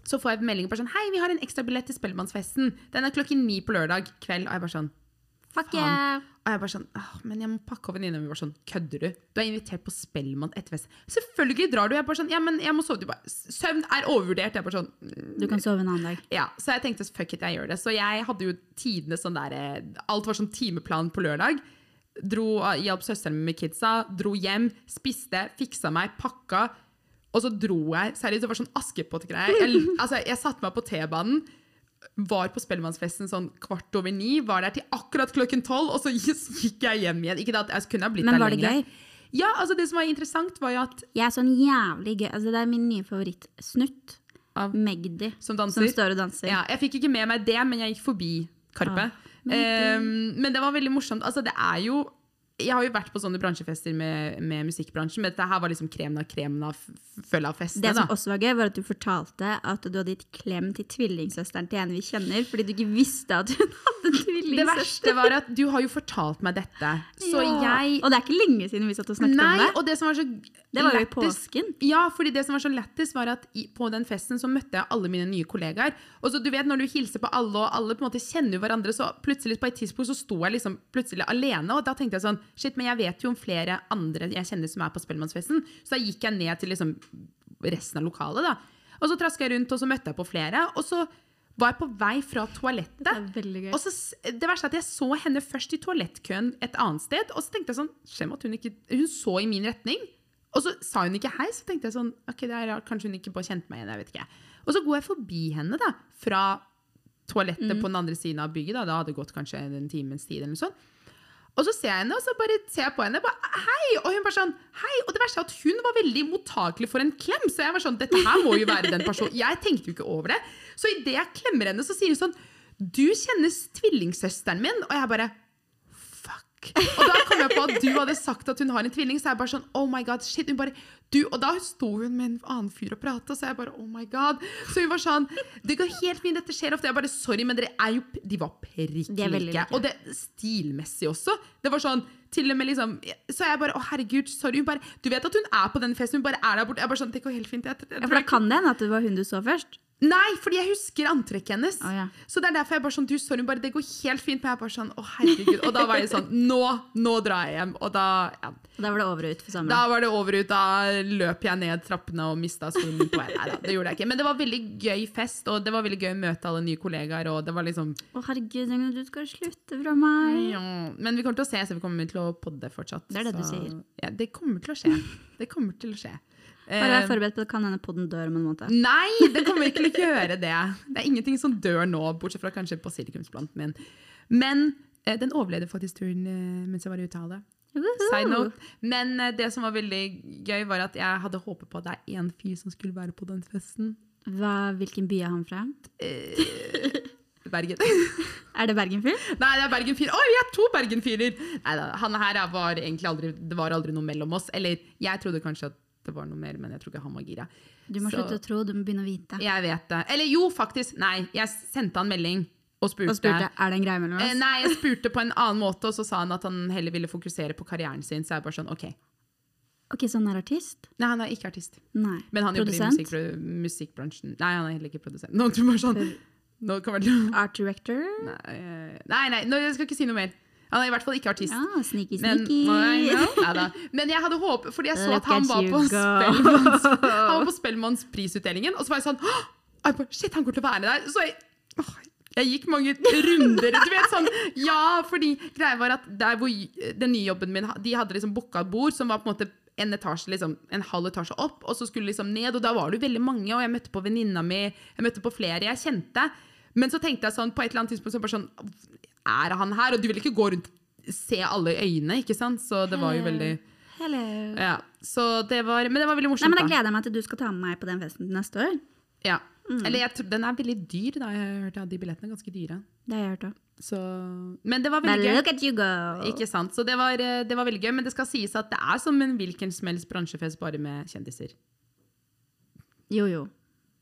så får jeg en melding på sånn, hei, vi har en ekstra billett til Spellemannsfesten. Den er klokken ni på lørdag kveld, og jeg bare sånn, Fuck Faen. yeah. og jeg bare sånn, «Åh, men jeg må pakke over venninna mi. var Sånn, Kødder du? Du er invitert på Spellemann etter fest. Selvfølgelig drar du. Jeg bare sånn, ja, men jeg må sove. Du bare, Søvn er overvurdert. Jeg bare sånn, «Mm, Du kan sove en annen dag. ja. Så jeg tenkte fuck it, jeg gjør det. Så jeg hadde jo tidenes sånn der eh, Alt var sånn timeplan på lørdag. Dro, eh, hjalp søsteren min med kidsa, dro hjem, spiste, fiksa meg, pakka. Og så dro jeg. Seriøst, det var sånn askepott-greier. Jeg, [LAUGHS] altså, jeg satte meg på T-banen, var på Spellemannsfesten sånn kvart over ni, var der til akkurat klokken tolv, og så [LAUGHS] gikk jeg hjem igjen. Ikke det at jeg kunne ha blitt Men der var det lenger. gøy? Ja, altså det som var interessant, var jo at Jeg er sånn jævlig gøy. Altså, det er min nye favorittsnutt. Av- Magdi. Som danser? Som står og danser. Ja, jeg fikk ikke med meg det, men jeg gikk forbi Karpe. Ah, Ehm, men det var veldig morsomt. Altså, det er jo jeg har jo vært på sånne bransjefester med, med musikkbransjen, men dette her var liksom kremen av kremen av f- følge av festene. Det som da. også var gøy, var at du fortalte at du hadde gitt klem til tvillingsøsteren til en vi kjenner, fordi du ikke visste at hun [LAUGHS] hadde Det tvillingsøster. verste var at du har jo fortalt meg dette, så Ja. jeg Og det er ikke lenge siden vi satt og snakket Nei, om det. og det som var så Det var jo i lættis- påsken. Ja, fordi det som var så lettest var at i, på den festen så møtte jeg alle mine nye kollegaer. Og så du vet Når du hilser på alle, og alle på en måte kjenner jo hverandre, så plutselig på et tidspunkt så sto jeg liksom plutselig alene. Og da tenkte jeg sånn Shit, men jeg vet jo om flere andre jeg kjenner som er på Spellemannsfesten. Så da gikk jeg ned til liksom resten av lokalet, da. Og så traska jeg rundt, og så møtte jeg på flere. Og så var jeg på vei fra toalettet. Det er veldig gøy. Og så, s- det verste er at jeg så henne først i toalettkøen et annet sted, og så tenkte jeg sånn, skjem at hun ikke, hun så i min retning, og så sa hun ikke hei, så tenkte jeg sånn, ok, det er rart, kanskje hun ikke bare kjente meg igjen, jeg vet ikke. Og så går jeg forbi henne da, fra toalettet på den andre siden av bygget da, det hadde gått kanskje en timens tid eller noe sånt, og så ser jeg henne, og så bare ser jeg på henne, bare, hei, og hun bare sånn, hei, og det verste er at hun var veldig mottakelig for en klem, så jeg var sånn, dette her må jo være den personen, jeg tenkte jo ikke over det, så i det jeg klemmer henne, så sier hun sånn, du kjennes tvillingsøsteren min, og jeg bare, fuck, og da kom jeg på at du hadde sagt at hun har en tvilling, så jeg bare sånn, oh my god, shit, hun bare, du, og da sto hun med en annen fyr og pratet, så jeg bare, oh my god, så hun var sånn, det går helt fint, dette skjer ofte, jeg bare, sorry, men dere er jo, de var prikk De er veldig like. like. Og det stilmessig også. Det var sånn, til og med liksom Så jeg bare Å, herregud, sorry. Hun bare Du vet at hun er på den festen, hun bare er der borte. Jeg bare sånn Det går helt fint. Jeg, jeg, jeg, Ja, for da kan det hende at det var hun du så først. Nei, fordi jeg husker antrekket hennes. Å, ja. Så det er derfor jeg bare sånn Du, sorry, bare det går helt fint. Men jeg bare sånn Å, herregud. Og da var jeg sånn Nå! Nå drar jeg hjem. Og da ja. Da var det over og ut for Da sommeren. var det over ut. Da løp jeg ned trappene og mista skoen min på vei. Nei da, det gjorde jeg ikke. Men det var veldig gøy fest, og det var veldig gøy å møte alle nye kollegaer. Og det var liksom Å, herregud, Ragnhild, du skal slutte fra meg. ja. Men vi kommer til å se, så vi kommer til å podde fortsatt. Mm. Det er det du så, sier. Ja, det kommer til å skje. Det kommer til å skje. Bare vær Eh, forberedt på at det kan hende podden dør om en måned. Nei, det kommer ikke til å gjøre det. Det er ingenting som dør nå, bortsett fra kanskje basilikumsplanten min. Men eh, den overlevde faktisk turen eh, mens jeg var i Italia. Uh. Side note. Men eh, det som var veldig gøy, var at jeg hadde håpet på at det er én fyr som skulle være på den festen. Hva, hvilken by er han fra? Eh, [LAUGHS] Bergen. Er det Bergenfyr? Nei, det er Bergen-fyr. Å, vi er to Bergen-fyrer! Nei da, han her er- var egentlig aldri Det var aldri noe mellom oss. Eller jeg trodde kanskje at det var noe mer, men jeg tror ikke han var gira. Du må Så- slutte å tro, du må begynne å vite. Jeg vet det. Eller jo, faktisk. Nei, jeg sendte han melding og spurte. Og spurte er det en greie mellom Eh, oss. Nei, jeg spurte på en annen måte, og så sa han at han heller ville fokusere på karrieren sin. Så jeg bare sånn, ok. Ok, så han er artist? Nei, han er ikke artist. Nei. Men han jobber i Produsent? musikkpro- musikkbransjen. Nei, han er heller ikke produsent. Nå tror jeg bare sånn, nå kommer det til å- Art director? Nei, eh, [LAUGHS] nei, nei nå, jeg skal ikke si noe mer. Han er i hvert fall ikke artist. Ja, sneaky, Men, sneaky. nei, ja, neida. [LAUGHS] men jeg hadde håpet, fordi jeg så Look at han at var, you på go. Spellemanns, [LAUGHS] han var på Spellemanns prisutdelingen, og så var jeg sånn «Åh!» jeg bare, Shit, han kommer til å være der! Så jeg, åh, jeg gikk mange runder. Du vet, sånn, ja, fordi greia var at der hvor den nye jobben min De hadde liksom booka et bord som var på en måte en etasje, liksom, en halv etasje opp, og så skulle liksom ned. Og da var det jo veldig mange, og jeg møtte på venninna mi, jeg møtte på flere jeg kjente. Men så tenkte jeg sånn, på et eller annet tidspunkt så bare sånn Er han her? Og du vil ikke gå rundt se alle øynene, ikke sant? Så det var jo veldig Hello. Ja. Så det var Men det var veldig Nei, morsomt, men Da da. gleder jeg meg til du skal ta med meg på den festen til neste år. Ja. Mm. Eller jeg tror Den er veldig dyr, da. Jeg hørte at de billettene er ganske dyre. Det har jeg hørt òg. Så Men det var But veldig gøy. look at you go! Ikke sant? Så det var, eh, det var veldig gøy. Men det skal sies at det er som en hvilken som helst bransjefest, bare med kjendiser. Jo, jo.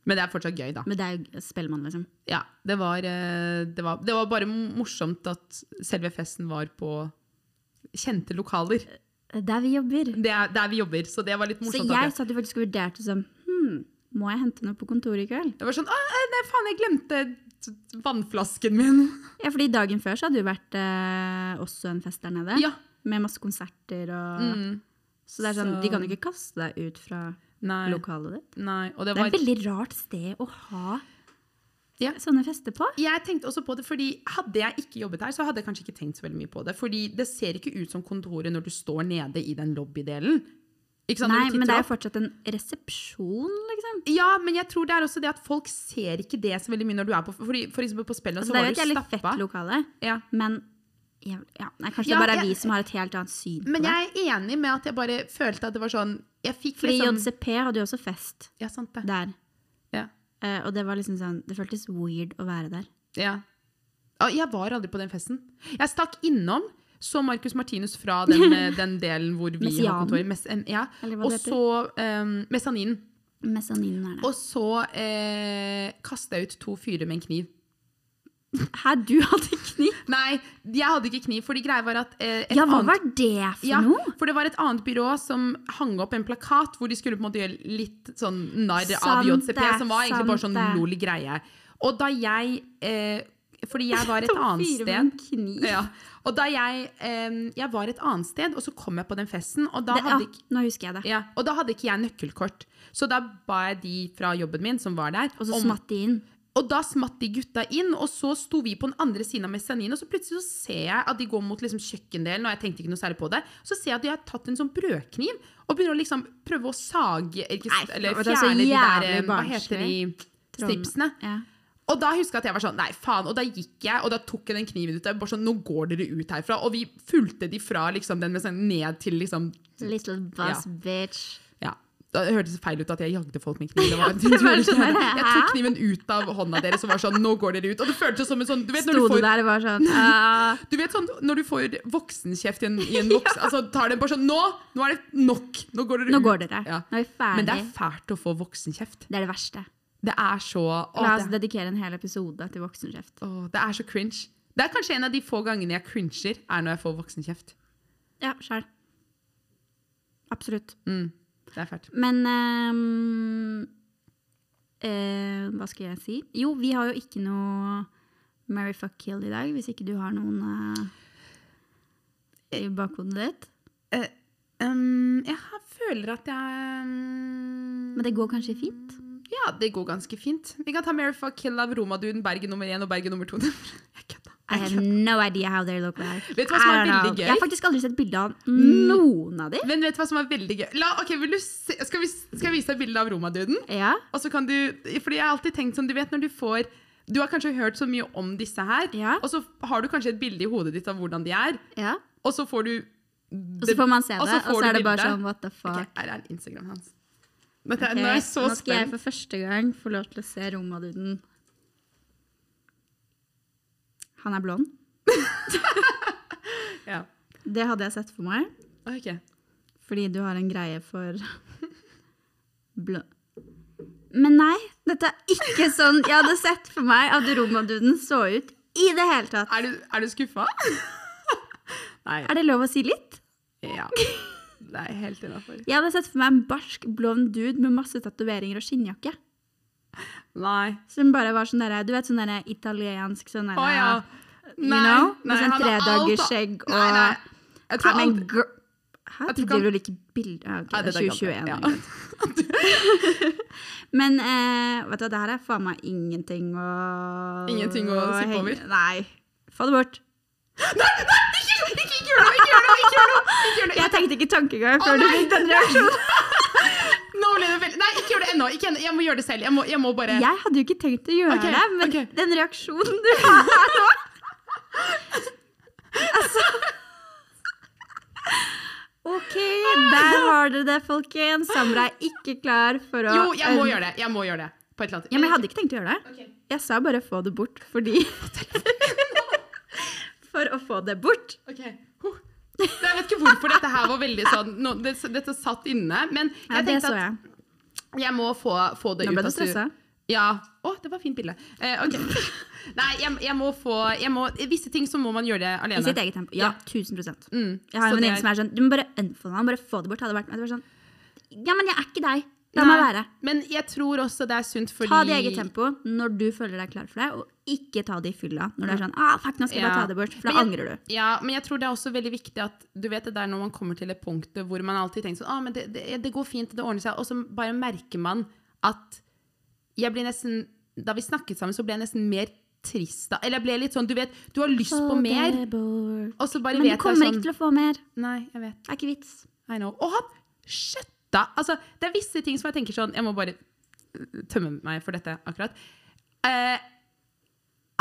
Men det er fortsatt gøy, da. Men det er jo Spellemann, liksom. Ja, det var, eh, det var, det var bare morsomt at selve festen var på kjente lokaler. Der vi jobber. Det er der vi jobber, så det var litt Så morsomt. at jeg satt jo faktisk og vurderte som Hm, må jeg hente noe på kontoret i kveld? Jeg var sånn «Å, Nei, faen, jeg glemte t- vannflasken min. Ja, fordi dagen før så hadde det jo vært eh, også en fest der nede. Ja. Mm. Med masse konserter og Så det er sånn, Så- de kan jo ikke kaste deg ut fra Nei. lokalet ditt. Nei. Og det Det er var et veldig rart sted å ha Ja. sånne fester på. Jeg tenkte også på det, fordi Hadde jeg ikke jobbet her, så hadde jeg kanskje ikke tenkt så veldig mye på det. Fordi det ser ikke ut som kontoret når du står nede i den lobbydelen. Ikke sant? Nei, Når du men titter det er opp. jo fortsatt en resepsjon, liksom. Ja, men jeg tror det er også det at folk ser ikke det så veldig mye når du er på fordi, For eksempel på spillene Altså, så det er var jo det et jævlig stappa. fett lokale, Ja. men jævlig, ja, nei, kanskje Ja, det bare er jeg- vi som har et helt annet syn på Men det. jeg er enig med at jeg bare følte at det var sånn Jeg fikk Fordi liksom JCP hadde jo også fest Ja, sant det. der, Ja. eh, og det var liksom sånn, det føltes weird å være der. Ja. Ja, Jeg var aldri på den festen. Jeg stakk innom, så Marcus Martinus fra den, [LAUGHS] eh, den delen hvor vi har Messianen. kontor. Mess, em, ja. Eller hva Og det heter. så um, Mesaninen. Mesaninen er det. Og så eh, kasta jeg ut to fyrer med en kniv. Hæ, du hadde kniv? Nei, jeg hadde ikke kniv, fordi greia var at eh, et Ja, hva annet- var det for ja, noe? for det var et annet byrå som hang opp en plakat hvor de skulle på en måte gjøre litt sånn narr av Sant JCP, det, som var egentlig bare sant sånn det. lol greie. Og da jeg eh, Fordi jeg [LAUGHS] var et To annet fyrer med sted. en kniv. [LAUGHS] Ja. Og da jeg eh, Jeg var et annet sted, og så kom jeg på den festen, og da Det, ja, hadde ikke nå husker jeg det. ja, og da hadde ikke jeg nøkkelkort, så da ba jeg de fra jobben min som var der, Og så om- smatt de inn. og da smatt de gutta inn, og så sto vi på den andre siden av mesanin, og så plutselig så ser jeg at de går mot liksom kjøkkendelen, og jeg tenkte ikke noe særlig på det. Så ser jeg at de har tatt en sånn brødkniv, og begynner å liksom prøve å sage, ikke, Nei, for eller det er så fjerne de der, jævlig eh, hva heter de, Trond- snipsene. Ja. Og da husker jeg at jeg var sånn, nei faen, og da gikk jeg, og da tok jeg den kniven ut, og jeg bare sånn, nå går dere ut herfra, og vi fulgte de fra liksom den mesanin ned til liksom, Little buzz bitch. ja. Da hørtes det feil ut at jeg jagde folk med kniv. Det var, [LAUGHS] det var sånn der, jeg tok kniven ut av hånda deres og var sånn, nå går dere ut. Og det føltes som en sånn, du vet når Sto du du får der og var [LAUGHS] sånn «Ah, du vet sånn, Når du får voksenkjeft i en, i en [LAUGHS] voksen altså, tar den bare sånn nå, nå er det nok! Nå går dere Nå ut. går dere. Ja. Nå er vi ferdig. Men det Det er fælt å få voksenkjeft. er det verste. Det er så å, La oss det, dedikere en hel episode til voksenkjeft. å, det er så cringe. Det er kanskje en av de få gangene jeg cringer, er når jeg får voksenkjeft. Ja, sjæl. Absolutt. Mm, det er fælt. Men ehm, eh, Hva skulle jeg si? Jo, vi har jo ikke noe Mary fuck kill i dag, hvis ikke du har noen eh, i bakhodet ditt. Eh, ehm, jeg har- føler at jeg ehm, Men det går kanskje fint? Ja, det går ganske fint. Vi kan ta Mary Fuck Kill av Romaduden, Bergen nummer én og Bergen nummer to. [LAUGHS] Jeg kødda. I have no idea how they look like. Vet du hva som I er don't veldig know. gøy? Mm. Jeg har faktisk aldri sett bilde av noen av de. Men vet du hva som er veldig gøy? La, ok, vil du se, skal, vi, skal jeg vise deg bildet av Romaduden? Ja. Og så kan du, fordi jeg har alltid tenkt som du vet når du får Du har kanskje hørt så mye om disse her, Ja. og så har du kanskje et bilde i hodet ditt av hvordan de er, ja. og så får du Og så får man se det, og og så så, får du er det bare bildet. sånn what the fuck. Ok, Her er Instagram hans. Dette, er- Nå er jeg så nå skal jeg spent. for første gang få lov til å se romaduden. Han er blond. Ja. Det hadde jeg sett for meg, Ok. fordi du har en greie for [LAUGHS] blå... Men nei, dette er ikke sånn jeg hadde sett for meg at romaduden så ut i det hele tatt. Er du, er du skuffa? [LAUGHS] Nei. Er det lov å si litt? [LAUGHS] Ja. Det er helt innafor. Jeg hadde sett for meg en barsk, blond dude med masse tatoveringer og skinnjakke. Nei. Som bare var sånn derre Du vet sånn derre italiensk sånn derre Å ja. You Eh, Nei, know? nei, Med sånn han har alt- tredagersskjegg og Nei, nei. Jeg tror Nei, men alt- gr- Hæ? Jeg Du tror ikke han- driver og liker bilder ah, ok, Nei, det dette er er 2021. gammelt. eller noe. Men eh, vet du, hva, det her er faen meg ingenting å Ingenting å se på over. Nei. Få det bort. Ikke gjør noe! Ikke gjør noe! Ikke gjør noe! Ikke gjør noe. Jeg tenkte ikke tankegang før du nei! fikk den reaksjonen. Nå ble det veldig Nei, ikke gjør det ennå. Ikke ennå. Jeg må gjøre det selv. Jeg må, jeg må bare Jeg hadde jo ikke tenkt å gjøre Ok, det, men ok. den reaksjonen du har her nå [LAUGHS] Altså OK, der har dere det, folkens. Samra er ikke klar for å Jo, jeg må gjøre det. Jeg må gjøre det. På et eller annet Ja, men jeg hadde ikke tenkt å gjøre det. Ok. Jeg sa bare 'få det bort' fordi [LAUGHS] For å få det bort. Ok. Huh. Jeg vet ikke hvorfor dette her var veldig sånn nå, det, Dette satt inne, men jeg Ja, det tenkte så at jeg. jeg må få, få det Nå ut ble du av stu- stressa. Ja. Å, det var fint bilde. Eh, ok. [LAUGHS] Nei, jeg, jeg må få jeg må, Visse ting så må man gjøre det I sitt alene. eget tempo. Ja, Ja. 1000 Jeg Mm. har en Så det venninne er- som er sånn Du må bare unfolde han, bare få det bort. Hadde vært meg. Det var sånn Ja, men jeg er ikke deg. La meg Nei, være. Men jeg tror også det er sunt fordi Ta det i eget tempo når du føler deg klar for det, og ikke ta det i fylla når du er sånn ah, fuck, nå skal jeg Ja. bare ta det bort, for da Men jeg- angrer du. Ja, men jeg tror det er også veldig viktig at du vet det der når man kommer til et punkt hvor man alltid tenker sånn ah, men det, det, det går fint, det ordner seg. Og så bare merker man at jeg blir nesten Da vi snakket sammen, så ble jeg nesten mer trist. Da. Eller jeg ble litt sånn Du vet, du har lyst på mer, og så bare Men vet du kommer jeg sånn ikke til å få mer. Nei, jeg vet. Det er ikke vits. I know. Og han skjøtta! Altså, det er visse ting som jeg tenker sånn Jeg må bare øh, tømme meg for dette akkurat. Eh,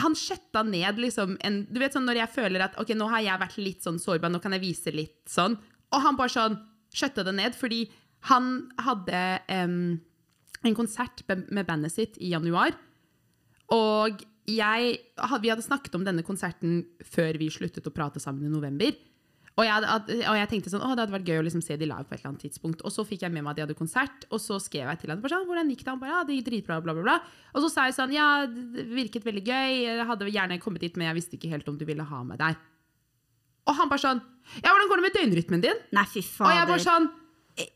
han skjøtta ned liksom en Du vet sånn når jeg føler at Ok, nå har jeg vært litt sånn sårbar, nå kan jeg vise litt sånn. Og han bare sånn skjøtta det ned, fordi han hadde em, en konsert be- med bandet sitt i januar. Og jeg, had- vi hadde snakket om denne konserten før vi sluttet å prate sammen i november. Og jeg, hadde- at- og jeg tenkte sånn, å, det hadde vært gøy å liksom se de live på et eller annet tidspunkt. Og så fikk jeg med meg at de hadde konsert, og så skrev jeg til henne. Bare sånn, hvordan gikk det? Han bare, ja, det gikk dritbra, bla, bla, bla. Og så sa jeg sånn, ja, det virket veldig gøy. Jeg hadde gjerne kommet dit, men jeg visste ikke helt om du ville ha meg der. Og han bare sånn, ja, hvordan går det med døgnrytmen din? Nei, fy Og jeg bare fader. sånn,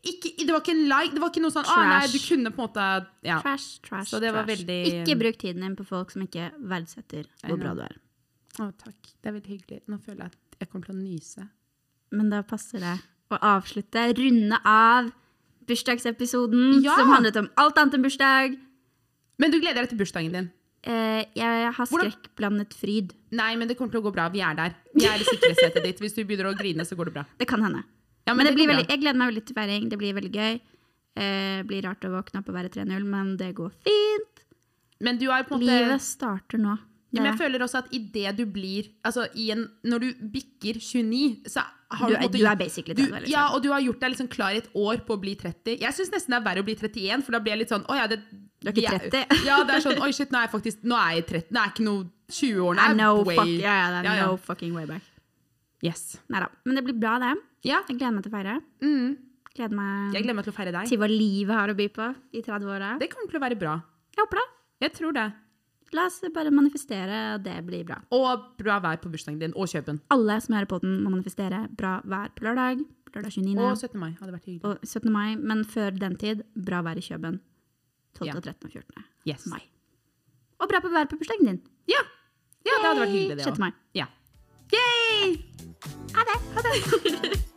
ikke, det var ikke en like, det var ikke noe sånn, ah, nei, Trash. du kunne på en måte, ja. Trash, trash, Så det var trash. veldig- Ikke bruk tiden din på folk som ikke verdsetter hvor bra du er. Å, takk. Det er veldig hyggelig. Nå føler jeg at jeg kommer til å nyse. Men da passer det å avslutte, runde av bursdagsepisoden Ja! som handlet om alt annet enn bursdag. Men du gleder deg til bursdagen din. Eh, jeg har Hvordan- skrekkblandet fryd. Nei, men det kommer til å gå bra. Vi er der. Vi [LAUGHS] er i sikkerhetsnettet ditt. Hvis du begynner å grine, så går det bra. Det kan hende. Ja, Men det blir går veldig, bra. jeg gleder meg veldig til feiring. Det blir veldig gøy. Eh, blir rart å våkne opp og være 3-0, men det går fint. Men du er på en måte Livet starter nå. eh. ja, men jeg Det er- føler også at i det du blir Altså, i en, når du bikker 29, så har du, du, på er, en måte du er basically du, det. Liksom. ja, og du har gjort deg liksom klar i et år på å bli 30. Jeg syns nesten det er verre å bli 31, for da blir jeg litt sånn Å ja, det Du er ikke jeg- 30. [LAUGHS] Ja, det er sånn Oi, shit, nå er jeg faktisk Nå er jeg 30. Nå er jeg ikke noe 20-årene. Nei, jeg er no, way- fuck, ja, ja, det er Ja, ja. no fucking way back. Yes. Neida. Men det blir bra, det. Ja. Jeg gleder meg til å feire. Mm. Gleder meg Jeg gleder meg til å feire deg. til hva livet har å by på i 30-åra. Det kommer til å være bra. Jeg håper det. Jeg tror det. La oss bare manifestere, og det blir bra. Og bra vær på bursdagen din. Og kjøpen. Alle som hører på den, må manifestere bra vær på lørdag. Lørdag 29. Og 17. mai. Hadde vært hyggelig. og 17. mai, men før den tid, bra vær i Kjøben. 12., Ja. 13. og 14. Yes. mai. Og bra på å være på bursdagen din. Ja. ja, det hadde vært Yay! hyggelig, det 6. mai. Ja. Yay! Ha det! Ha det.